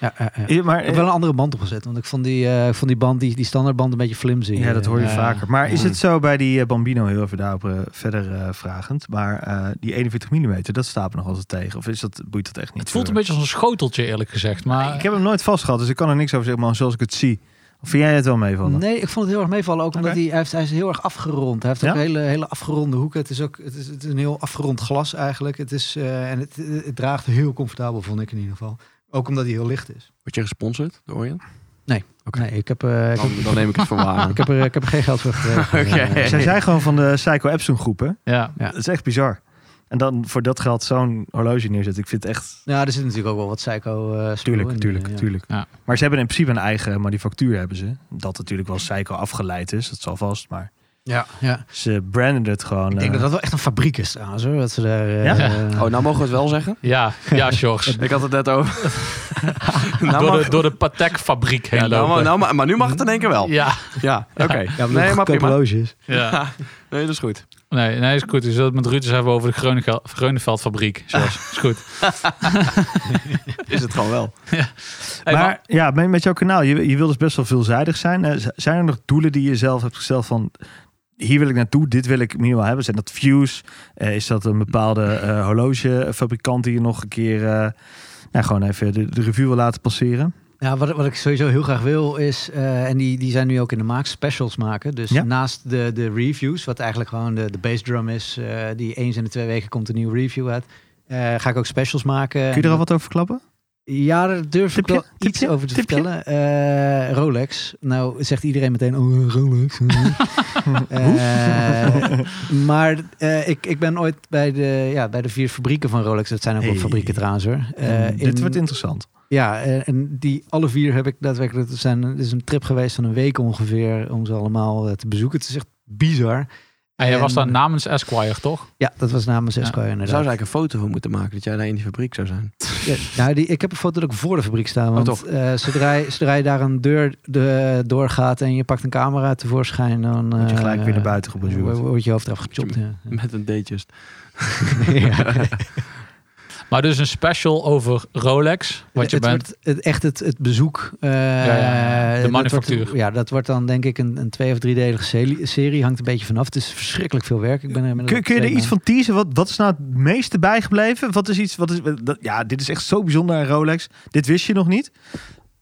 ja, ja.
Ja, maar, eh,
Ik heb wel een andere band opgezet, want ik vond die, eh, ik vond die band, die, die standaardband, een beetje flimsy.
Ja, dat hoor je
Ja.
eh,
vaker. Maar is
Mm.
het zo bij die eh, Bambino, heel even daarop eh, verder eh, vragend, maar eh, die 41 mm, dat staat me nog altijd tegen. Of is dat, boeit dat echt niet?
Het voelt een
verder?
beetje als een schoteltje eerlijk gezegd, maar
Ik heb hem nooit vast gehad, dus ik kan er niks over zeggen, maar zoals ik het zie. Of vind jij het wel mee van?
Nee, ik vond het heel erg meevallen. Ook omdat
Oké.
hij, hij, heeft, hij is heel erg afgerond. Hij heeft ook
Ja?
hele, hele afgeronde hoeken. Het is ook het is, het is een heel afgerond glas eigenlijk. Het is, eh, en het, het draagt heel comfortabel, vond ik in ieder geval. Ook omdat hij heel licht is.
Word je gesponsord door Orient? Oké.
Nee, ik heb, eh, ik, heb,
Dan, dan neem ik het voor waar.
ik, heb er, ik heb er geen geld voor gekregen.
Oké.
Eh,
Zij zijn gewoon van de Psycho Epson groepen.
ja.
Ja.
Dat is echt bizar. En dan voor dat geld zo'n horloge neerzetten. Ik vind het echt...
nou, er zit natuurlijk ook wel wat psycho eh spul
Tuurlijk,
in,
tuurlijk,
eh, ja.
tuurlijk.
Ja.
Maar ze hebben in principe een eigen manufactuur, hebben ze. Dat natuurlijk wel Psycho afgeleid is, dat zal vast. Maar
Ja, ja.
ze branden het gewoon.
Ik denk
eh,
dat dat wel echt een fabriek is trouwens. Hoor, wat ze daar, eh,
Ja?
eh,
Oh, nou mogen we het wel zeggen?
Ja, ja, George.
Ik had het net over. nou
door,
mag-
de, door de Patek-fabriek heen
ja, nou,
lopen.
maar- nou, maar, maar nu mag het in één keer wel. Ja,
ja,
oké.
ja,
nee, maar prima.
horloges.
ja.
Nee, dat is goed.
Nee, nee, is goed. We zullen het met Rutus hebben over de Groenega- Groeneveldfabriek. Zoals, is goed.
Is het gewoon wel.
Hey,
maar,
maar-
ja, met, met jouw kanaal, je, je wil dus best wel veelzijdig zijn. Eh, z- zijn er nog doelen die je zelf hebt gesteld van... Hier wil ik naartoe, dit wil ik minimaal hebben. Zijn dat views? Eh, is dat een bepaalde eh, horlogefabrikant die je nog een keer... eh, nou, gewoon even de, de review wil laten passeren?
Ja, wat, wat ik sowieso heel graag wil is, eh, en die, die zijn nu ook in de maak, specials maken. Dus
Ja.
naast de, de reviews, wat eigenlijk gewoon de, de bass drum is, eh, die eens in de twee weken komt een nieuwe review uit. eh, ga ik ook specials maken.
Kun je er al wat over klappen?
Ja, daar durf
Tipje?
ik wel iets
Tipje?
over te
Tipje?
vertellen. Eh, Rolex. Nou zegt iedereen meteen, oh eh, Rolex. Eh, maar eh, ik, ik ben ooit bij de, ja, bij de vier fabrieken van Rolex. Dat zijn ook
Hey.
wel fabrieken trouwens hoor. Eh,
dit
in-
wordt interessant.
ja, eh, en die alle vier heb ik daadwerkelijk. Het, zijn, het is een trip geweest van een week ongeveer om ze allemaal eh, te bezoeken. Het is echt bizar.
En jij was daar
En-
namens Esquire, toch?
Ja, dat was namens
Ja.
Esco
Daar
inderdaad.
zou ze eigenlijk een foto van moeten maken dat jij daar in die fabriek zou zijn.
Ja, nou, die, ik heb een foto dat ik voor de fabriek sta. Want
toch.
eh, zodra, je, zodra je daar een deur de, doorgaat en je pakt een camera tevoorschijn, dan
Word je
eh,
gelijk weer naar buiten gebonjourd.
Wordt je hoofd eraf gechopt. Ja.
Met een dateje.
Ja.
Maar dus een special over Rolex. Wat
Het-
je
het
bent.
wordt het, echt het, het bezoek. eh,
ja, ja. De
dat
manufactuur.
wordt- ja, dat wordt dan denk ik een, een twee- of driedelige serie, serie. Hangt een beetje vanaf. Het is verschrikkelijk veel werk. Ik ben er inmiddels
Kun,
op
kun je er
twee
iets van teasen? Wat, wat is nou het meeste bijgebleven? Wat is iets, wat is, dat, ja, dit is echt zo bijzonder aan Rolex. Dit wist je nog niet.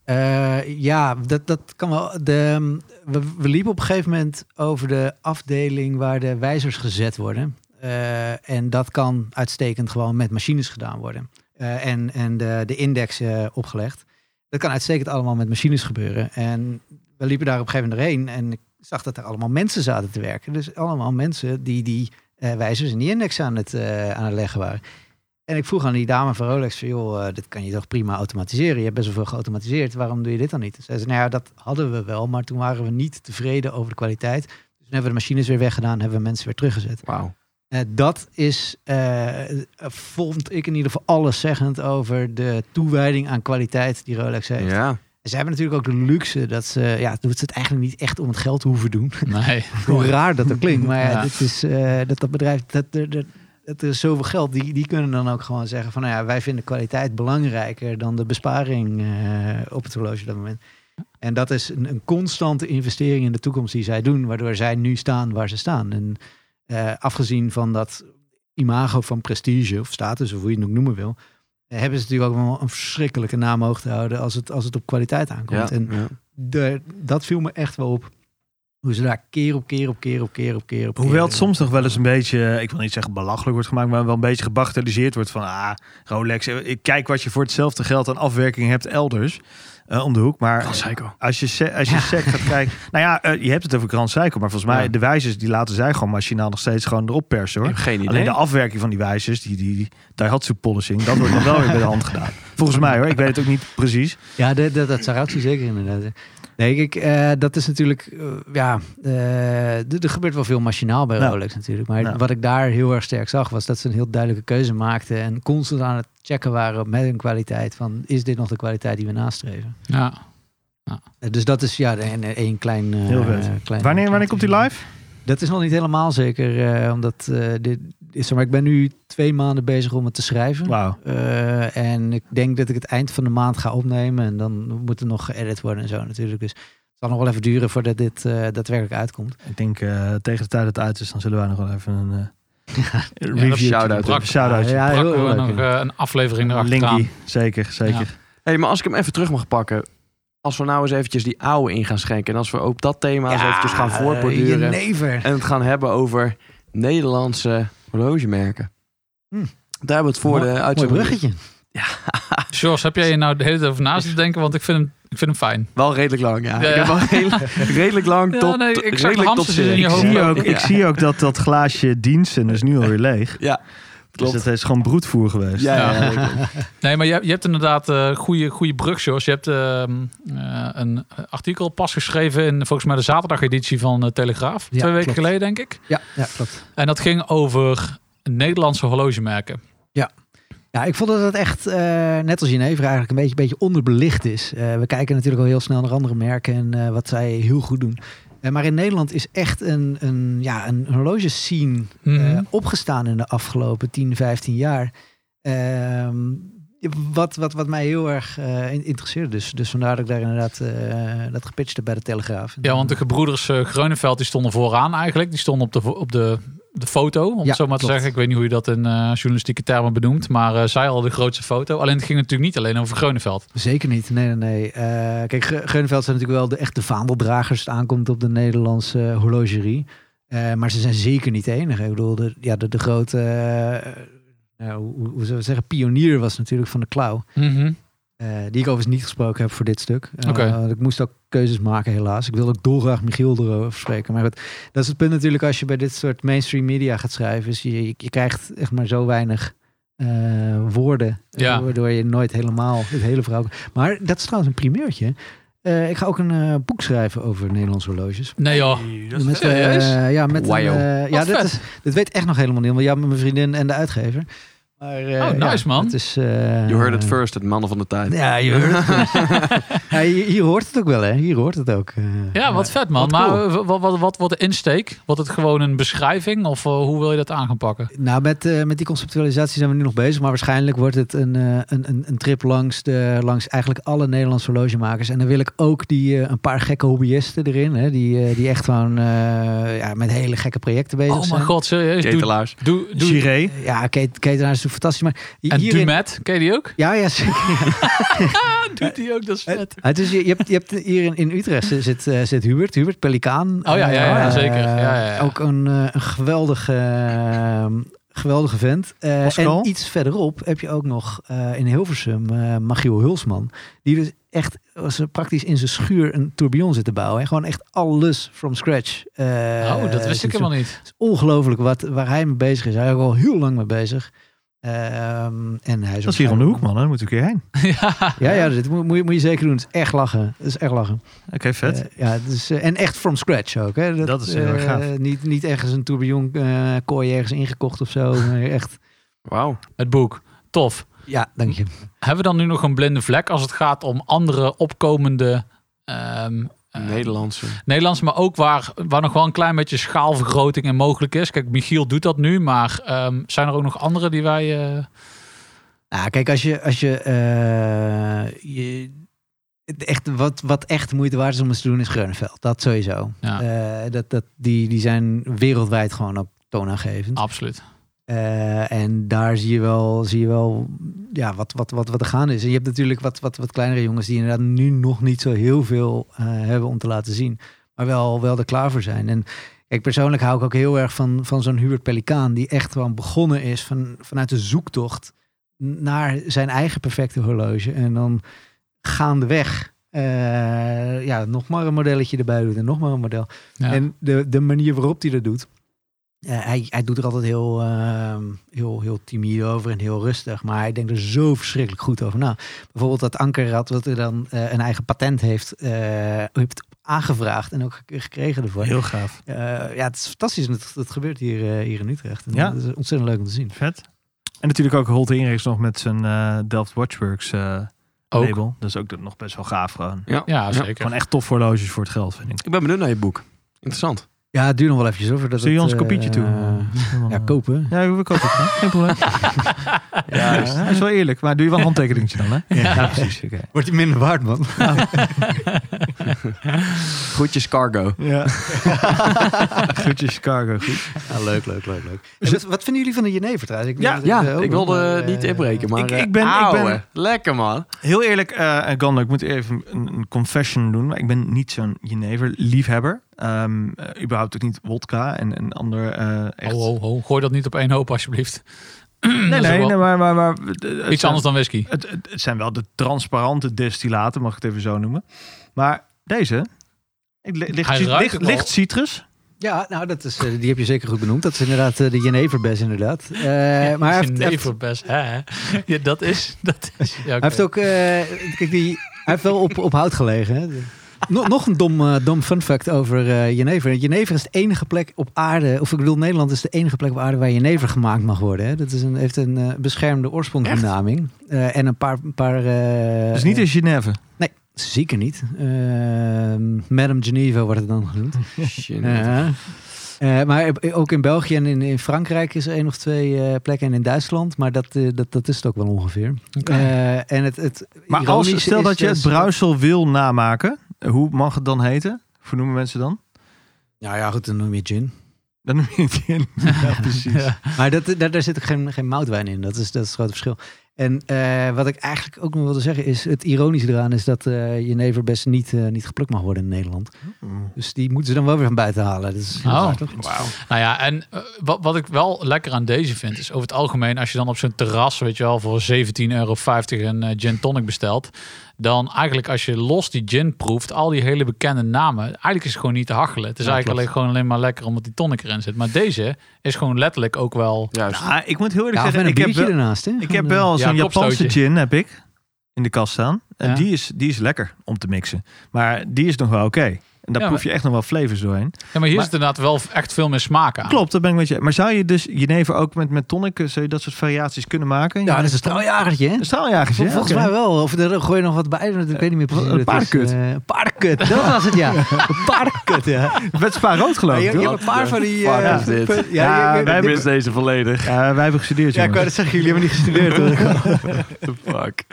Eh, ja, dat, dat kan wel. De, ehm, we, we liepen op een gegeven moment over de afdeling waar de wijzers gezet worden. Eh, en dat kan uitstekend gewoon met machines gedaan worden. Eh, en en de, de index eh, opgelegd. Dat kan uitstekend allemaal met machines gebeuren. En we liepen daar op een gegeven moment doorheen. En ik zag dat er allemaal mensen zaten te werken. Dus allemaal mensen die die eh, wijzers in die index aan het, eh, aan het leggen waren. En ik vroeg aan die dame van Rolex, van, joh, eh, dit kan je toch prima automatiseren? Je hebt best wel veel geautomatiseerd, waarom doe je dit dan niet? Ze zei ze, nou ja, dat hadden we wel, maar toen waren we niet tevreden over de kwaliteit. Dus toen hebben we de machines weer weggedaan, hebben we mensen weer teruggezet.
Wauw.
Eh, dat is, eh, eh, vond ik in ieder geval alleszeggend over de toewijding aan kwaliteit die Rolex heeft.
Ja.
En Ze hebben natuurlijk ook de luxe dat ze, ja, doen ze het eigenlijk niet echt om het geld hoeven doen.
Nee.
Hoe raar dat ook klinkt, maar ja,
Ja.
dit is, eh, dat dat bedrijf, dat, er- er- dat er is zoveel geld, die, die kunnen dan ook gewoon zeggen van, nou ja, wij vinden kwaliteit belangrijker dan de besparing eh, op het horloge op dat moment. En dat is een, een constante investering in de toekomst die zij doen, waardoor zij nu staan waar ze staan. En eh, afgezien van dat imago van prestige of status, of hoe je het ook noemen wil, eh, hebben ze natuurlijk ook wel een verschrikkelijke naam hoog te houden als het, als het op kwaliteit
Ja.
aankomt. En
ja.
de, dat viel me echt wel op. Hoe ze daar keer op keer op keer op keer op keer op keer-
Eh,
Hoewel het soms nog wel eens een beetje, eh, ik wil niet zeggen belachelijk wordt gemaakt, maar wel een beetje gebagatelliseerd wordt van, ah, Rolex, eh, ik kijk wat je voor hetzelfde geld aan afwerking hebt elders eh, om de hoek. Maar
Psycho.
als je, se- als je sec gaat kijken, nou ja, eh, je hebt het over Grand Seiko, maar volgens mij
Ja.
de wijzers die laten zij gewoon machinaal nog steeds gewoon erop persen
Ik
hoor.
heb geen idee.
Alleen de afwerking van die wijzers, die, die, die Daihatsu polishing, dat wordt dan wel weer bij de hand gedaan. Volgens mij hoor, ik weet het ook niet precies.
Ja, dat, dat, dat Saratsi zeker inderdaad. Nee, ik, eh, dat is natuurlijk, eh, ja, eh, d- er gebeurt wel veel machinaal bij
Nou.
Rolex natuurlijk. Maar
Nou.
wat ik daar heel erg sterk zag, was dat ze een heel duidelijke keuze maakten. En constant aan het checken waren met hun kwaliteit. Van, is dit nog de kwaliteit die we nastreven?
Ja.
Eh, dus dat is, ja, één één klein... eh,
Heel vet.
klein
Wanneer, wanneer komt die live?
Dat is nog niet helemaal zeker, eh, omdat eh, dit, is er, maar ik ben nu twee maanden bezig om het te schrijven.
Wauw.
Eh, en ik denk dat ik het eind van de maand ga opnemen. En dan moet er nog geëdit worden en zo natuurlijk. Dus het zal nog wel even duren voordat dit eh, daadwerkelijk uitkomt.
Ik denk eh, tegen de tijd dat het uit is, dan zullen wij nog wel even een eh,
dat
review
shout-out
shout-out.
doen.
shout-out.
Ja,
Pakken
heel
we
leuk.
nog eh, een aflevering erachteraan.
Linky, zeker, zeker.
hey, maar als ik hem even terug mag pakken. Als we nou eens eventjes die oude in gaan schenken. En als we ook dat thema eens eventjes gaan
eh,
voortborduren.
jenever.
en het gaan hebben over Nederlandse horlogemerken.
Hm.
Daar hebben we het voor
Mooi-
de
Mooi
uitzending
bruggetje.
George, heb jij je nou de hele tijd over naast te denken? Want ik vind hem, ik vind hem fijn.
Wel redelijk lang, ja.
Ja,
Ik heb wel redelijk, redelijk lang
Ja,
tot,
nee, ik zag de
redelijk tot
hamsters in
zeer.
je
Ik,
hoofd.
zie
Ja.
ook, ik zie ook dat dat glaasje diensten is nu alweer leeg.
Ja, klopt.
Dus dat is gewoon broedvoer geweest.
Ja, ja, ja,
Nee, maar je, je hebt inderdaad eh goede, goede brug, George. Je hebt ehm, eh, een artikel pas geschreven in volgens mij de zaterdageditie van eh, Telegraaf.
Ja,
twee weken
klopt.
geleden, denk ik.
Ja, ja, klopt.
En dat ging over Nederlandse horlogemerken.
Ja, ik vond dat het echt, eh, net als Jenever, eigenlijk een beetje, beetje onderbelicht is. Eh, we kijken natuurlijk al heel snel naar andere merken en eh, wat zij heel goed doen. Eh, maar in Nederland is echt een, een, ja, een horlogescene
Mhm.
eh, opgestaan in de afgelopen 10, 15 jaar. Ehm, wat, wat, wat mij heel erg eh, in- interesseerde. Dus, dus vandaar dat ik daar inderdaad eh, dat gepitcht heb bij de Telegraaf.
ja, want de gebroeders eh, Groeneveld die stonden vooraan eigenlijk. Die stonden op de, vo- op de, de foto, om
Ja,
het zo maar te
klopt.
zeggen. Ik weet niet hoe je dat in eh, journalistieke termen benoemt. Maar eh, zij hadden de grootste foto. Alleen het ging natuurlijk niet alleen over Groeneveld.
Zeker niet, nee, nee, nee. Eh, kijk, Ge- Geuneveld zijn natuurlijk wel de echte vaandeldragers... als het aankomt op de Nederlandse eh, horlogerie. Eh, maar ze zijn zeker niet de enige. Ik bedoel, de, ja, de, de grote... eh, nou, hoe, hoe zullen we het zeggen? Pionier was natuurlijk van de klauw.
Mhm.
Eh, die ik overigens niet gesproken heb voor dit stuk. Eh,
Oké.
want ik moest ook keuzes maken, helaas. Ik wilde ook dolgraag Michiel erover spreken. Maar goed, dat is het punt natuurlijk als je bij dit soort mainstream media gaat schrijven. Is je, je, je krijgt echt maar zo weinig eh, woorden.
Ja.
eh, Waardoor je nooit helemaal het hele verhaal... Maar dat is trouwens een primeurtje. Eh, ik ga ook een eh, boek schrijven over Nederlandse horloges.
Nee joh.
Met, eh,
serieus?
ja, met een,
Wajo.
eh, ja
Wat
dit,
vet.
is, dit weet echt nog helemaal niemand. Ja, met mijn vriendin en de uitgever. Maar, eh,
Oh, nice,
ja,
man.
Het is, eh,
You heard it first, het mannen van de tijd.
ja, je hoort het. dus. ja, hier, hier hoort het ook wel, hè? Hier hoort het ook. eh.
Ja, wat vet man.
Wat
maar
cool.
eh, wat, wat, wat wordt de insteek? Wordt het gewoon een beschrijving of eh, hoe wil je dat aan gaan pakken?
Nou, met, eh, met die conceptualisatie zijn we nu nog bezig. Maar waarschijnlijk wordt het een, eh, een, een, een trip langs, de, langs eigenlijk alle Nederlandse horlogemakers. En dan wil ik ook die, eh, een paar gekke hobbyisten erin. Hè, die, eh, die echt gewoon eh, ja, met hele gekke projecten bezig
Oh
zijn.
mijn god, serieus. Doe,
Ketelaars.
doe, doe,
Giré.
Ja, Kate- Ketelaar is natuurlijk fantastisch. Maar hi-
en Dumet, ken je die ook?
Ja, ja, zeker. ja.
Doet die ook, dat is vet.
Ah, dus je, je, hebt, je hebt hier in, in Utrecht zit, eh, zit Hubert, Hubert Pelikaan.
Oh, ja, ja, ja,
Eh,
zeker. Ja, ja, ja.
Ook een, eh, een geweldige, eh, geweldige vent. Eh,
Pascal?
en iets verderop heb je ook nog eh, in Hilversum eh Machiel Hulsman. Die dus echt was er praktisch in zijn schuur een tourbillon zitten bouwen. En gewoon echt alles from scratch. eh,
oh, dat wist ik
zit zo-
helemaal niet.
het is ongelooflijk wat, waar hij mee bezig is. Hij is ook al heel lang mee bezig. Ehm, en hij is
Dat is hier om de hoek, man. hè. Daar moeten we een keer heen.
ja.
Ja, ja dit moet, moet, je, moet je zeker doen. Het is echt lachen. Het is echt lachen.
Oké, vet.
Eh, ja, dus, eh, en echt from scratch ook. Hè.
Dat is heel erg
eh,
gaaf.
Niet, niet ergens een tourbillon eh, kooi ergens ingekocht of zo. maar echt.
Wauw.
Het boek. Tof.
Ja, dank je.
Hebben we dan nu nog een blinde vlek als het gaat om andere opkomende ehm, eh,
Nederlandse.
Nederlands, maar ook waar, waar nog wel een klein beetje schaalvergroting in mogelijk is. Kijk, Michiel doet dat nu, maar ehm, zijn er ook nog andere die wij... eh,
Nou, kijk, als je, als je, eh, je het echt, wat, wat echt moeite waard is om eens te doen, is Groeneveld. Dat sowieso.
Ja.
Eh, dat, dat, die, die zijn wereldwijd gewoon ook toonaangevend.
absoluut.
Eh, en daar zie je wel, zie je wel ja, wat, wat, wat, wat er gaande is. En je hebt natuurlijk wat, wat, wat kleinere jongens die inderdaad nu nog niet zo heel veel eh, hebben om te laten zien. Maar wel, wel er klaar voor zijn. En kijk, persoonlijk hou ik ook heel erg van, van zo'n Hubert Pelikaan. Die echt gewoon begonnen is van, vanuit de zoektocht naar zijn eigen perfecte horloge. En dan gaandeweg eh ja, nog maar een modelletje erbij doet en nog maar een model.
Ja.
En de, de manier waarop hij dat doet. eh, hij, hij doet er altijd heel, ehm, heel, heel timide over en heel rustig. Maar hij denkt er zo verschrikkelijk goed over na. Bijvoorbeeld dat ankerrad wat er dan eh, een eigen patent heeft, eh, heeft aangevraagd. En ook gekregen ervoor.
Heel gaaf.
Eh, ja, het is fantastisch. Dat, dat gebeurt hier, eh, hier in Utrecht. En
Ja.
Dat is ontzettend leuk om te zien.
Vet. En natuurlijk ook Holt Inrechts nog met zijn eh, Delft Watchworks eh,
Ook.
label. Dat is ook nog best wel gaaf gewoon.
Ja.
Ja, zeker.
Gewoon echt tof horloges voor het geld, vind ik.
Ik ben benieuwd naar je boek. Interessant.
Ja, het duurt nog wel eventjes over. Dat
Stuur je
het,
ons een
eh,
kopietje toe?
eh, ja,
Dan, eh,
kopen.
Ja, we kopen het. hè? Geen probleem. ja, dat is wel eerlijk. Maar doe je wel een handtekeningetje dan, hè? Ja, precies. Oké.
Wordt hij minder waard, man.
Groetjes cargo.
Ja. Groetjes, cargo. Goed.
Ja, leuk, leuk, leuk, leuk. En wat, wat vinden jullie van de Jenever trouwens? Ik
Ja,
denk dat
Ja,
eh, ook
ik
nog,
wilde
maar,
eh,
eh,
niet inbreken, maar...
ik-
eh,
ik ben- ik ben-
ouwe. Lekker, man.
Heel eerlijk, eh Gando, ik moet even een, een confession doen. Maar ik ben niet zo'n Jenever-liefhebber. Ehm eh, überhaupt ook niet wodka en, en ander eh echt...
Ho, ho, ho. Gooi dat niet op één hoop, alsjeblieft.
Nee,
oh. is ook
nee,
wel-
nee, maar... maar, maar het- het
Iets
zijn-
anders dan whisky.
Het, het, het zijn wel de transparante destillaten, mag ik het even zo noemen. Maar deze... ik- li- Licht,
Hij
ci-
ruikt
licht,
ook wel.
licht citrus.
Ja, nou, dat is, eh, die heb je zeker goed benoemd. Dat is inderdaad eh, de Jeneverbes, inderdaad. Eh, maar hij heeft, hij heeft-
Jenever best. Hè? hè? Ja, dat is... Dat is ja, oké.
hij heeft ook... eh, kijk, die, hij heeft wel op, op hout gelegen. Hè? Nog, nog een dom, eh, dom fun fact over eh Jenever. Jenever is de enige plek op aarde... Of ik bedoel, Nederland is de enige plek op aarde... waar Jenever gemaakt mag worden. Hè? Dat is een, heeft een eh, beschermde oorsprongsbenaming. Eh, en een paar... Een paar eh,
Dus niet in Geneve.
Zeker niet. Ehm Madame Geneva wordt het dan genoemd.
Shit.
Ja. Eh, maar ook in België en in, in Frankrijk is er één of twee eh, plekken. En in Duitsland. Maar dat, eh, dat, dat is het ook wel ongeveer. Eh, en het, het
Maar als,
ironische
stel
is dus-
dat je het Bruisel wil namaken, hoe mag het dan heten? Hoe noemen mensen dan?
Nou ja, goed, dan noem je gin.
Dan noem je het in. Ja, precies.
Ja.
Maar dat, daar, daar zit ook geen, geen moutwijn in. Dat is, dat is het grote verschil. En eh, wat ik eigenlijk ook nog wilde zeggen is... Het ironische eraan is dat eh jenever best niet, eh, niet geplukt mag worden in Nederland.
Oh.
Dus die moeten ze dan wel weer van buiten halen. Dat is heel
Oh.
raar, toch?
Nou ja, en eh, wat, wat ik wel lekker aan deze vind, is over het algemeen, als je dan op zo'n terras, weet je wel, voor 17,50 euro een eh, gin tonic bestelt, dan eigenlijk als je los die gin proeft, al die hele bekende namen, eigenlijk is het gewoon niet te hachelen. Het is
Ja,
eigenlijk
klopt.
alleen, gewoon alleen maar lekker omdat die tonic erin zit. Maar deze is gewoon letterlijk ook wel...
Juist.
Nou, ik moet heel eerlijk
Ja, of
zeggen,
met een
ik heb,
biertje
wel,
ernaast. Hè?
ik
Gewoon,
heb
eh,
wel
Ja,
zo'n
een
Japanse
kopstootje.
gin, heb ik, in de kast staan. En
Ja.
die, is, die is lekker om te mixen. Maar die is nog wel oké. En daar
Ja,
proef je echt nog wel flavors doorheen.
Ja, maar hier
Maar-
zit inderdaad wel echt veel meer smaak aan.
Klopt, dat ben ik met je. Maar zou je dus jenever ook met, met tonic, eh, zou je dat soort variaties kunnen maken?
Ja, dat is een straaljagertje, hè?
Een straaljagertje,
Vol-
hè?
Volgens
Oké.
mij wel. Of er gooi je nog wat bij. want Ik weet niet meer precies.
Een
hoe dat is.
paardenkut.
Eh, paardenkut, dat was het ja. Een paardenkut, ja.
Met spa rood geloof
Je,
ik,
je
toch?
hebt een paar van die. eh,
Fuck is dit?
punt- Ja,
Ja,
je- je-
wij
Wij
dit-
missen deze volledig.
Ja, wij hebben gestudeerd,
ja, ik
jongens.
wou dat zeggen, jullie hebben niet gestudeerd hoor.
Fuck.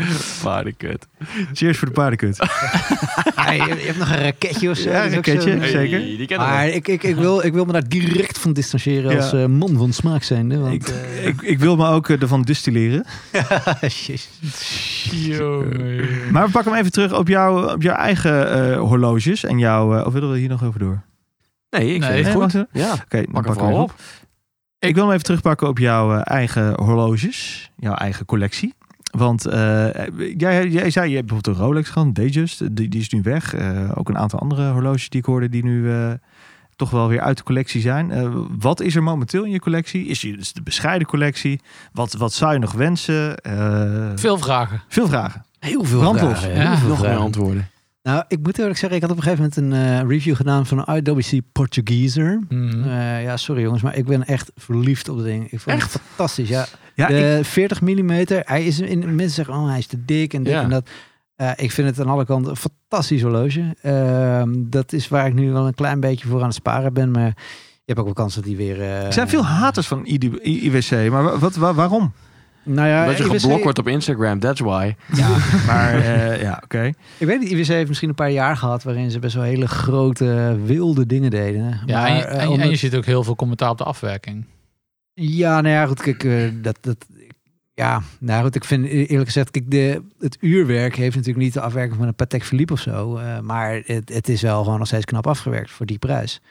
Paardenkut.
Cheers voor de paardenkut.
Ah, je, je hebt nog een raketje of zo.
Ja,
dat is ook zo.
raketje. Zeker.
Hey, die kennen
Maar
we.
ik, ik, ik, wil, ik wil me daar direct van distancieren
Ja.
als eh, man van smaak zijnde. Want,
Ik, ik, ik wil me ook eh, ervan distilleren.
eh, Jezus.
Jongen.
Maar we pakken hem even terug op, jou, op jouw eigen eh, horloges. En jouw, eh, of willen we hier nog over door?
Nee, ik
Nee,
vind het
wacht
goed.
even.
Ja,
Oké, dan
pak hem
pakken we
vooral
hem
op.
Ik wil hem even terugpakken op jouw eh, eigen horloges. Jouw eigen collectie. Want eh, jij, jij zei, je hebt bijvoorbeeld een Rolex gehad, Datejust, die, die is nu weg. Eh, ook een aantal andere horloges die ik hoorde die nu eh, toch wel weer uit de collectie zijn. Eh, wat is er momenteel in je collectie? Is je is de bescheiden collectie? Wat, wat zou je nog wensen? Eh,
Veel vragen.
veel vragen.
Heel veel
Brandlos.
vragen.
Ja,
heel veel
Nog meer
vragen.
antwoorden.
Nou, ik moet eerlijk zeggen, ik had op een gegeven moment een eh, review gedaan van een IWC Portugeeser.
Mhm.
Eh, ja, sorry jongens, maar ik ben echt verliefd op dat ding. Ik vond het fantastisch. Ja,
Ja, ik,
de 40 mm, hij is in, mensen zeggen, oh, hij is te dik en dit
Ja.
en dat. Eh, ik vind het aan alle kanten een fantastisch horloge. Ehm, dat is waar ik nu wel een klein beetje voor aan het sparen ben, maar je hebt ook wel kans dat die weer... eh,
er zijn veel haters van ID I- IWC, maar wa- wat, wa- waarom?
Nou ja,
dat je
IWC
geblokt wordt op Instagram, that's why.
Ja,
Maar eh, ja, oké.
ik weet niet, IWC heeft misschien een paar jaar gehad waarin ze best wel hele grote, wilde dingen deden.
Ja,
maar,
en, je,
eh,
en je- en
omdat-
je ziet ook heel veel commentaar op de afwerking.
Ja, nou ja, goed, kijk, eh, dat, dat, ja, nou goed, ik vind eh, eerlijk gezegd, kijk, de, het uurwerk heeft natuurlijk niet de afwerking van een Patek Philippe of zo, eh, maar het, het is wel gewoon nog steeds knap afgewerkt voor die prijs.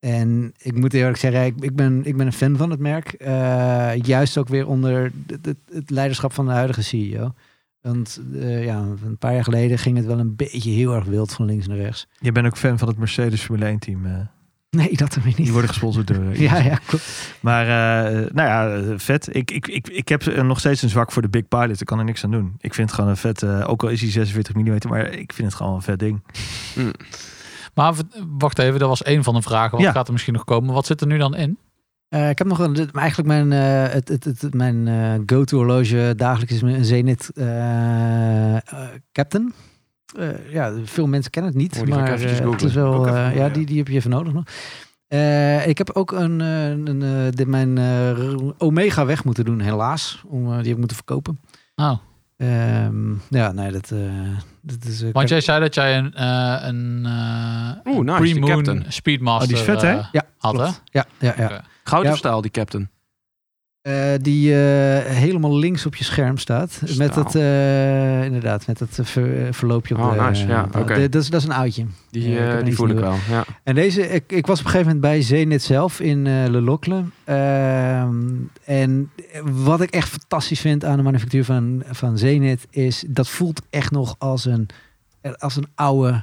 En ik moet eerlijk zeggen, ik, ik, ben, ik ben een fan van het merk, eh, juist ook weer onder het, het, het leiderschap van de huidige CEO. Want eh, ja, een paar jaar geleden ging het wel een beetje heel erg wild van links naar rechts.
Je bent ook fan van het Mercedes Formule 1 team. eh.
Nee, dat er weer niet.
die worden gesponsord door eh,
ja, ja, klopt.
Maar eh, nou ja, eh, vet. Ik, ik, ik, ik heb eh, nog steeds een zwak voor de Big Pilot. Ik kan er niks aan doen. Ik vind het gewoon een vet, eh, ook al is hij 46 mm, maar ik vind het gewoon een vet ding.
Maar v- wacht even, dat was één van de vragen. Wat
Ja.
gaat er misschien nog komen? Wat zit er nu dan in?
Eh, ik heb nog een, dit- maar eigenlijk mijn, eh, het, het, het, het- mijn eh, go-to horloge dagelijks is mijn Zenith eh, eh, Captain. Eh, ja, veel mensen kennen het niet,
Oh, die ga ik
maar
eventjes
eh, het
googlen.
is wel,
dus Ook even
eh,
googlen,
ja,
ja.
die, die heb je even nodig nog. Eh, ik heb ook een, eh, een, eh, dit, mijn eh, Omega weg moeten doen, helaas. Om, eh, die heb ik moeten verkopen.
Nou,
Ehm, ja, nee, dat, eh, dat is... eh,
want jij zei dat jij een, eh een eh,
Oeh, nice, die
pre-moon
captain.
Speedmaster
Oh, die is vet, hè?
eh,
Ja,
had, hè?
klopt. Ja, ja, ja.
Oké.
Goud
Ja.
of staal, die captain?
Eh, die eh, helemaal links op je scherm staat.
Staal.
Met dat, eh, inderdaad, met dat eh, ver- eh, verloopje op
Oh,
de...
nice. Ja,
eh,
oké.
de- dat, is, dat is een oudje.
Die,
Ja, ik
eh,
heb
die
niks
voel ik
nieuws.
wel. Ja.
En deze, ik, ik was op een gegeven moment bij Zenit zelf in eh Le Locle. Ehm, en wat ik echt fantastisch vind aan de manufactuur van, van Zenit is... dat voelt echt nog als een, eh, als een oude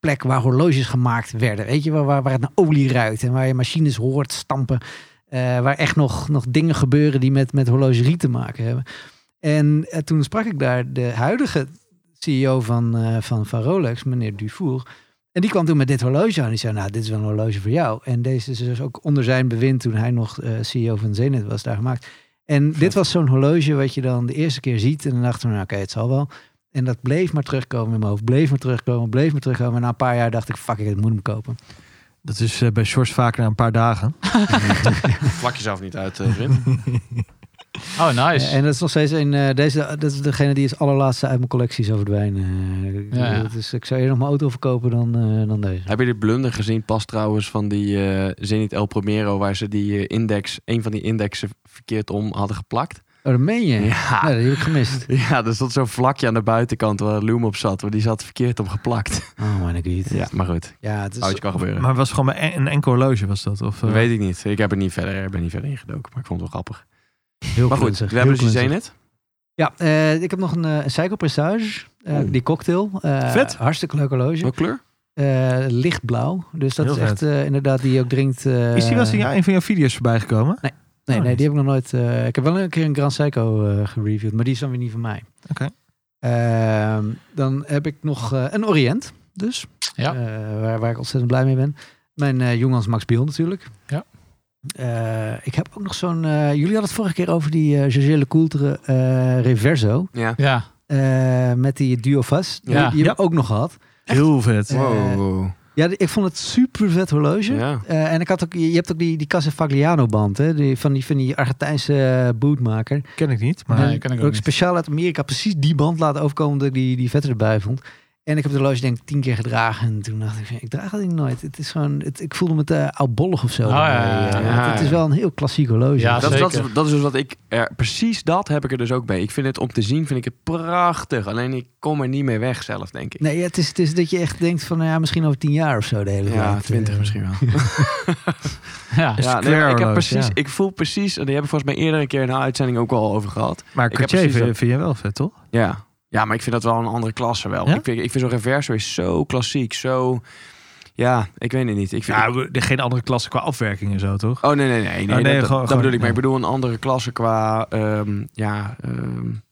plek waar horloges gemaakt werden. Weet je, waar, waar, waar het naar olie ruikt en waar je machines hoort stampen. Eh, waar echt nog, nog dingen gebeuren die met, met horlogerie te maken hebben. En eh, toen sprak ik daar de huidige CEO van, eh, van, van Rolex, meneer Dufour. En die kwam toen met dit horloge aan. Die zei, nou, dit is wel een horloge voor jou. En deze is dus ook onder zijn bewind toen hij nog eh, CEO van Zenit was daar gemaakt. En dit was zo'n horloge wat je dan de eerste keer ziet. En dan dachten we, nou, oké, het zal wel. En dat bleef maar terugkomen in mijn hoofd. Bleef maar terugkomen, bleef maar terugkomen. En na een paar jaar dacht ik, fuck ik, het moet hem kopen.
Dat is eh, bij Shorts vaker na een paar dagen.
Plak jezelf niet uit, eh Rin.
Oh, nice.
Eh, En dat is nog steeds een, eh, deze, dat is degene die is allerlaatste uit mijn collectie zou verdwijnen. Eh,
Ja, ja.
dat is, ik zou eerder nog mijn auto verkopen dan, eh, dan deze.
Heb je de blunder gezien pas trouwens van die eh Zenit El Primero... waar ze die eh, index, een van die indexen verkeerd om hadden geplakt?
Oh, dat meen je?
Ja.
Nou, dat heb ik gemist.
Ja, er zat zo'n vlakje aan de buitenkant waar Loom op zat. Maar die zat verkeerd om geplakt. Dus-
Oh my god.
Ja, maar goed.
Ja, het is,
Oudje kan gebeuren.
Maar het was gewoon maar en- een enkel horloge was dat? Of, eh,
Dat weet ik niet. Ik heb er niet verder, ben niet verder ingedoken. Maar ik vond het wel grappig.
heel
Maar goed,
klunzig,
we hebben
heel
dus die
klunzig.
Zenit.
Ja, eh, ik heb nog een, eh, een Psycho Prestige. eh,
Oeh.
Die cocktail. Eh,
Vet.
Hartstikke leuk horloge.
Welke kleur?
Eh, lichtblauw. Dus dat
Heel
is echt eh, inderdaad die je ook drinkt. eh,
is die wel eens in jou- een van jouw video's voorbij gekomen?
Nee,
Oh,
nee,
niet.
die heb ik nog nooit. eh, ik heb wel een keer een Grand Seiko eh, gereviewd, maar die is dan weer niet van mij.
Oké.
Ehm, dan heb ik nog eh, een Orient, dus.
Ja.
Eh, waar, waar ik ontzettend blij mee ben. Mijn eh jongens Max Biel natuurlijk.
Ja.
Eh, ik heb ook nog zo'n. eh, jullie hadden het vorige keer over die eh Gégé Lecoultre eh, Reverso.
Ja.
ja.
eh, met die Duofas. Die,
Ja.
die heb ik ook nog gehad.
Heel vet.
Eh,
Wow.
Ja, die- ik vond het super vet horloge.
Ja.
Eh, en ik had ook, je je hebt ook die, die Casafagliano band, hè? Die, van, die, van die Argentijnse eh, bootmaker.
Ken ik niet, maar
Nee, ken ik ook
ook
niet.
speciaal uit Amerika precies die band laten overkomen omdat ik die, die vetter erbij vond. En ik heb de horloge denk ik tien keer gedragen. En toen dacht ik, ik draag dat ding nooit. Het is gewoon, het, ik voelde me te oudbollig of zo.
Ah, ja, ja, ja.
Eh,
Ja,
want Het is
ja.
wel een heel klassiek horloge.
Ja,
Dat, is- dat, is,
zeker.
dat is dus wat ik er, precies dat heb ik er dus ook mee. Ik vind het om te zien, vind ik het prachtig. Alleen ik kom er niet mee weg zelf, denk ik.
Nee, het is, het is dat je echt denkt van, nou ja, misschien over tien jaar of zo de hele
ja,
tijd.
twintig
Eh,
misschien wel.
Ja.
Ja, nee,
square
maar ik, heb
horloge,
precies,
ja.
ik voel precies, en die hebben we volgens mij eerder een keer in een uitzending ook al over gehad.
Maar
Ik heb
Cartier
precies
vind,
dat-
vind je wel vet, toch?
Ja. ja, maar ik vind dat wel een andere klasse wel.
Ja?
Ik vind, ik vind zo'n reverso is zo klassiek, zo... Ja, ik weet het niet. Ik vind,
Ja, we- geen andere klasse qua afwerking en zo, toch?
Oh, nee, nee, nee. nee,
nee,
dat, dat-
gewoon-
dat
gewoon-
bedoel ik. Maar ik
ja.
bedoel een andere klasse qua ehm, ja, ehm,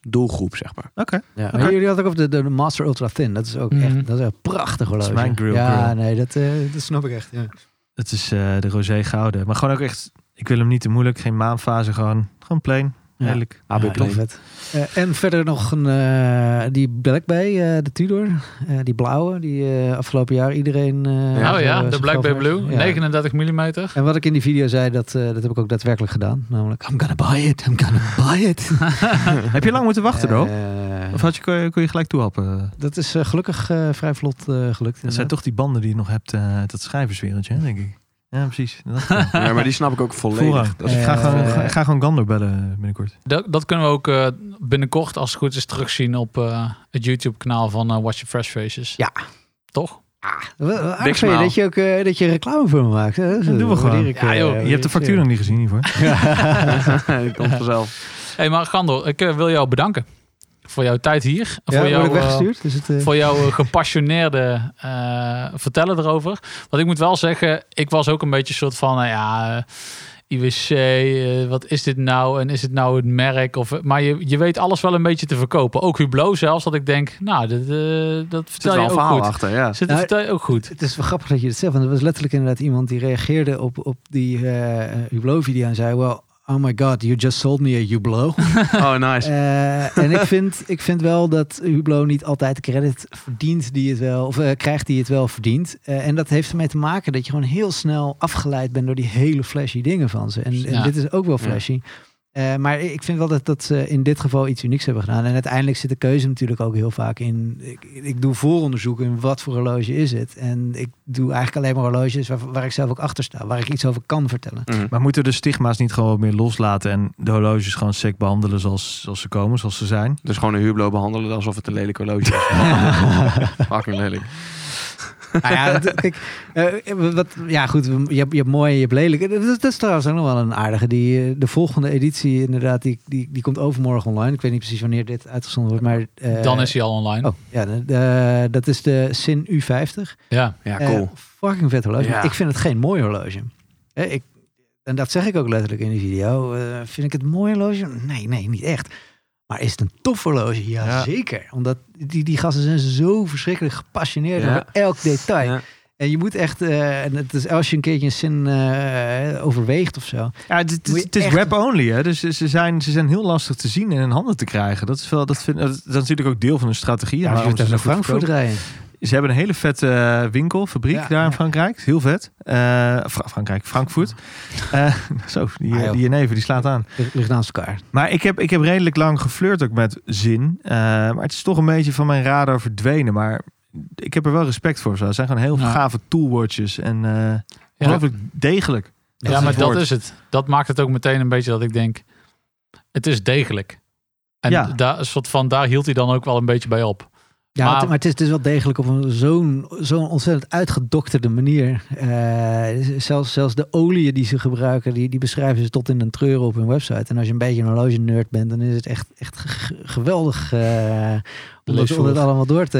doelgroep, zeg maar.
Oké.
Ja,
Oké.
maar jullie hadden ook over de, de Master Ultra Thin. Dat is ook
Mhm.
echt dat is een prachtig horloge.
mijn grill,
ja,
grill.
nee, dat, eh, dat snap ik echt. Ja.
Het is eh, de rosé gouden. Maar gewoon ook echt... Ik wil hem niet te moeilijk. Geen maanfase. Gewoon, gewoon plain.
Ja.
Heerlijk.
AB
Ja,
Plain.
heel vet. Eh, en verder nog een, eh, die Black Bay, eh, de Tudor. Eh, die blauwe, die eh, afgelopen jaar iedereen... eh,
oh
zo-
ja, de
zo
Black Bay
gaf.
Blue,
Ja.
39 mm.
En wat ik in die video zei, dat, eh, dat heb ik ook daadwerkelijk gedaan. Namelijk, I'm gonna buy it, I'm gonna buy it.
Heb je lang moeten wachten, bro?
Eh,
Of had je, kon, je, kon je gelijk toehappen?
dat is eh, gelukkig eh, vrij vlot eh, gelukt.
Dat zijn toch die banden die je nog hebt eh, uit dat schrijverswereldje, hè, denk ik. Ja, precies. Dat
Ja, maar die snap ik ook volledig.
Voorrang.
Dat is-
Eh,
ik ga gewoon,
eh,
ga, ga gewoon Gandor bellen eh, binnenkort.
Dat, dat kunnen we ook eh, binnenkort, als het goed is, terugzien op eh, het YouTube-kanaal van eh, Watch Your Fresh Faces.
Ja.
Toch?
Wat- wat aardig
Diksmaal.
van je dat je ook eh, dat je reclame voor me maakt. hè? Dat is-
Dat doen we
hoor
gewoon.
ik,
Ja,
eh,
joh,
hoor
Je hebt de
ik,
factuur
eh.
nog niet gezien hiervoor.
Die komt vanzelf.
hey, maar Gandor, ik eh, wil jou bedanken voor jouw tijd hier.
Ja,
voor
word
jouw,
ik
eh,
weggestuurd? Is het, eh,
voor jouw eh, gepassioneerde eh, vertellen erover. Want ik moet wel zeggen, ik was ook een beetje een soort van, nou ja, eh, IWC, eh, wat is dit nou? En is het nou het merk? Of, maar je, je weet alles wel een beetje te verkopen. Ook Hublot zelfs, dat ik denk, nou, dat, eh, dat
Er zit wel
vertel je
een
ook
verhaal
goed.
achter, ja.
Zit,
Nou,
vertel je ook goed.
Het is wel grappig dat je het zegt, want er was letterlijk inderdaad iemand die reageerde op, op die eh Hublot-video en zei, well, oh my god, you just sold me a Hublot.
Oh, nice.
Eh, en ik vind, ik vind wel dat Hublot niet altijd de credit verdient die het wel, of eh, krijgt die het wel verdient. Eh, en dat heeft ermee te maken dat je gewoon heel snel afgeleid bent door die hele flashy dingen van ze. En,
Ja.
en dit is ook wel
Ja.
flashy. Eh, maar ik vind wel dat, dat ze in dit geval iets unieks hebben gedaan. En uiteindelijk zit de keuze natuurlijk ook heel vaak in. Ik, ik doe vooronderzoek in wat voor horloge is het. En ik doe eigenlijk alleen maar horloges waar, waar ik zelf ook achter sta. Waar ik iets over kan vertellen.
Mm.
Maar moeten we de stigma's niet gewoon wat meer loslaten en de horloges gewoon sec behandelen zoals, zoals ze komen, zoals ze zijn?
Dus gewoon een huurbloo behandelen alsof het een lelijk horloge is. Fucking lelijk.
Nou ja, dat- kijk, eh, wat, ja goed, we- je hebt, je hebt mooi en je hebt lelijk. Dat, is- dat is trouwens ook nog wel een aardige. Die, eh, de volgende editie inderdaad, die, die, die komt overmorgen online. Ik weet niet precies wanneer dit uitgezonden wordt, maar... eh,
Dan is hij al online.
Oh, ja, de- de- dat is de Sin U50.
Ja.
Ja,
Eh,
cool.
fucking vet horloge. maar
Ja.
Ik vind het geen mooi horloge. Hè, ik, en dat zeg ik ook letterlijk in die video. Eh, vind ik het een mooi horloge? Nee, nee, niet echt. Maar is het een tof horloge? Ja,
Ja.
zeker. Omdat die, die gasten zijn zo verschrikkelijk gepassioneerd
Ja.
over elk detail.
Ja.
En je moet echt, eh, en het is als je een keertje een zin eh, overweegt of zo.
Ja, het, het-
Moet je
het is
echt-
web only, hè? Dus ze- ze zijn, ze zijn heel lastig te zien en in handen te krijgen. Dat is, wel, dat vind, dat is natuurlijk ook deel van hun strategie.
Ja, je dus
waarom
moet
ze
even
zo
naar
goed
Frankfurt
verkopen.
rijden.
Ze hebben een hele vette eh, winkel, fabriek
Ja,
daar in
ja.
Frankrijk. Heel vet. Eh, Fra- Frankrijk, Frankfurt. Eh, zo, die,
Ah,
eh,
joh.
die jenever die slaat aan.
Ligt- Ligt naast elkaar.
Maar ik heb, ik heb redelijk lang geflirt ook met zin. Eh, maar het is toch een beetje van mijn radar verdwenen. Maar ik heb er wel respect voor. Zo. Het zijn gewoon heel
Ja.
gave toolwatches. En eh ongelooflijk degelijk.
Ja,
Dat is
maar
het
dat
woord.
is het. Dat maakt het ook meteen een beetje dat ik denk, het is degelijk. En
Ja.
daar, een soort van, daar hield hij dan ook wel een beetje bij op.
Ja,
Maar-
maar, maar het, is, het is wel degelijk op een zo'n zo'n ontzettend uitgedokterde manier. Eh, zelfs, zelfs de oliën die ze gebruiken, die, die beschrijven ze tot in een treur op hun website. En als je een beetje een horloge nerd bent, dan is het echt, echt g- geweldig eh, om, dat, om
Leesvoerig.
dat allemaal door te...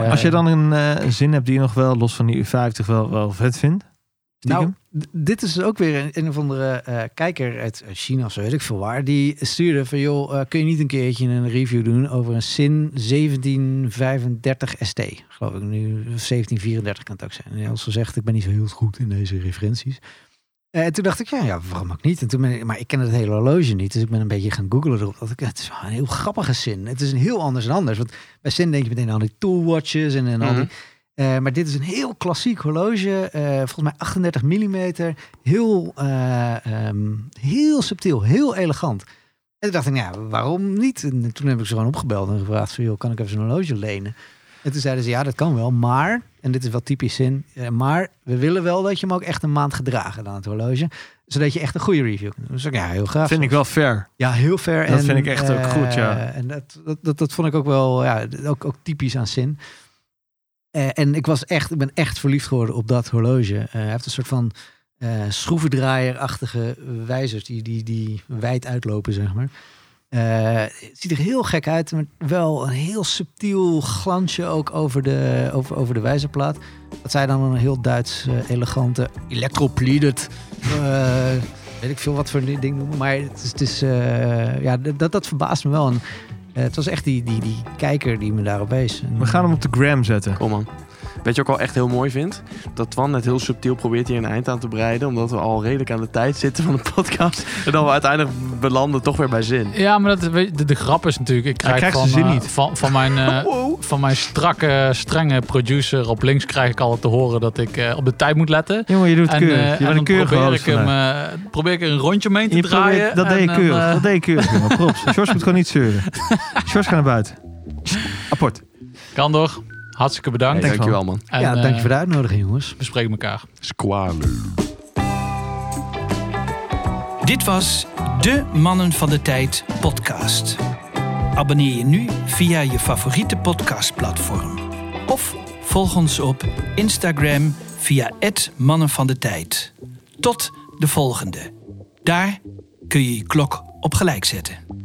Maar als je dan een eh, zin hebt die je nog wel, los van die U50, wel, wel vet vindt.
Nou,
stiekem?
d- dit is ook weer een, een of andere eh, kijker uit China of zo weet ik veel waar. Die stuurde van joh, eh, kun je niet een keertje een review doen over een SIN 1735 ST? Geloof ik nu, of 1734 kan het ook zijn. En als gezegd, ik ben niet zo heel goed in deze referenties. Eh, en toen dacht ik, ja, ja, waarom ook niet? En toen ben ik, maar ik ken het hele horloge niet, dus ik ben een beetje gaan googlen erop. Dat ik, het is wel een heel grappige SIN. Het is een heel anders dan anders. Want bij SIN denk je meteen aan die toolwatches en, en al die
Mhm.
eh, maar dit is een heel klassiek horloge. eh, volgens mij 38 mm. Heel, eh, ehm, heel subtiel, heel elegant. En toen dacht ik, nou, ja, waarom niet? En toen heb ik ze gewoon opgebeld en gevraagd: van, joh, kan ik even zo'n horloge lenen? En toen zeiden ze, ja, dat kan wel, maar, en dit is wel typisch zin, eh, maar we willen wel dat je hem ook echt een maand gedragen aan het horloge, zodat je echt een goede review kunt doen. Dus ik, ja, heel graag.
Vind ik wel fair.
Ja, heel ver.
Dat
en,
vind ik echt ook
eh,
goed, ja.
En dat, dat, dat, dat vond ik ook wel, ja, ook, ook typisch aan Sin. Eh, en ik, was echt, ik ben echt verliefd geworden op dat horloge. Eh, hij heeft een soort van eh schroevendraaierachtige wijzers die, die, die wijd uitlopen, zeg maar. Eh, het ziet er heel gek uit, maar wel een heel subtiel glansje ook over de, over, over de wijzerplaat. Dat zij dan een heel Duits eh, elegante electropleated eh, weet ik veel wat voor een ding noemen. Maar het is, het is eh, ja, d- dat, dat verbaast me wel. En, eh, het was echt die, die, die kijker die me daarop wees. En,
We gaan hem op de gram zetten.
Kom man. Weet je ook al echt heel mooi vindt? Dat Twan het heel subtiel probeert hier een eind aan te breiden. Omdat we al redelijk aan de tijd zitten van de podcast. En dan we uiteindelijk belanden toch weer bij zin.
Ja, maar dat, weet je, de, de grap is natuurlijk... Ik krijg
krijgt
van,
zijn zin
eh,
niet.
Van, van, mijn, eh, van mijn strakke, strenge producer op links krijg ik altijd te horen dat ik eh, op de tijd moet letten.
Jongen, je doet het keurig. je bent
eh, dan
een keurige
probeer
host
ik, hem,
vandaag.
eh, probeer ik er een rondje mee te
Je
draaien.
probeert- dat
en
deed je
dan,
keurig.
eh,
dat deed je keurig, jongen. Props. George moet gewoon niet zeuren. George gaat naar buiten. Apport.
Kan toch? Hartstikke bedankt.
Hey,
dankjewel man.
En,
ja, dank je
eh,
voor de uitnodiging, jongens.
We spreken elkaar.
Squalo.
Dit was de Mannen van de Tijd podcast. Abonneer je nu via je favoriete podcastplatform. Of volg ons op Instagram via het Mannen van de Tijd. Tot de volgende. Daar kun je je klok op gelijk zetten.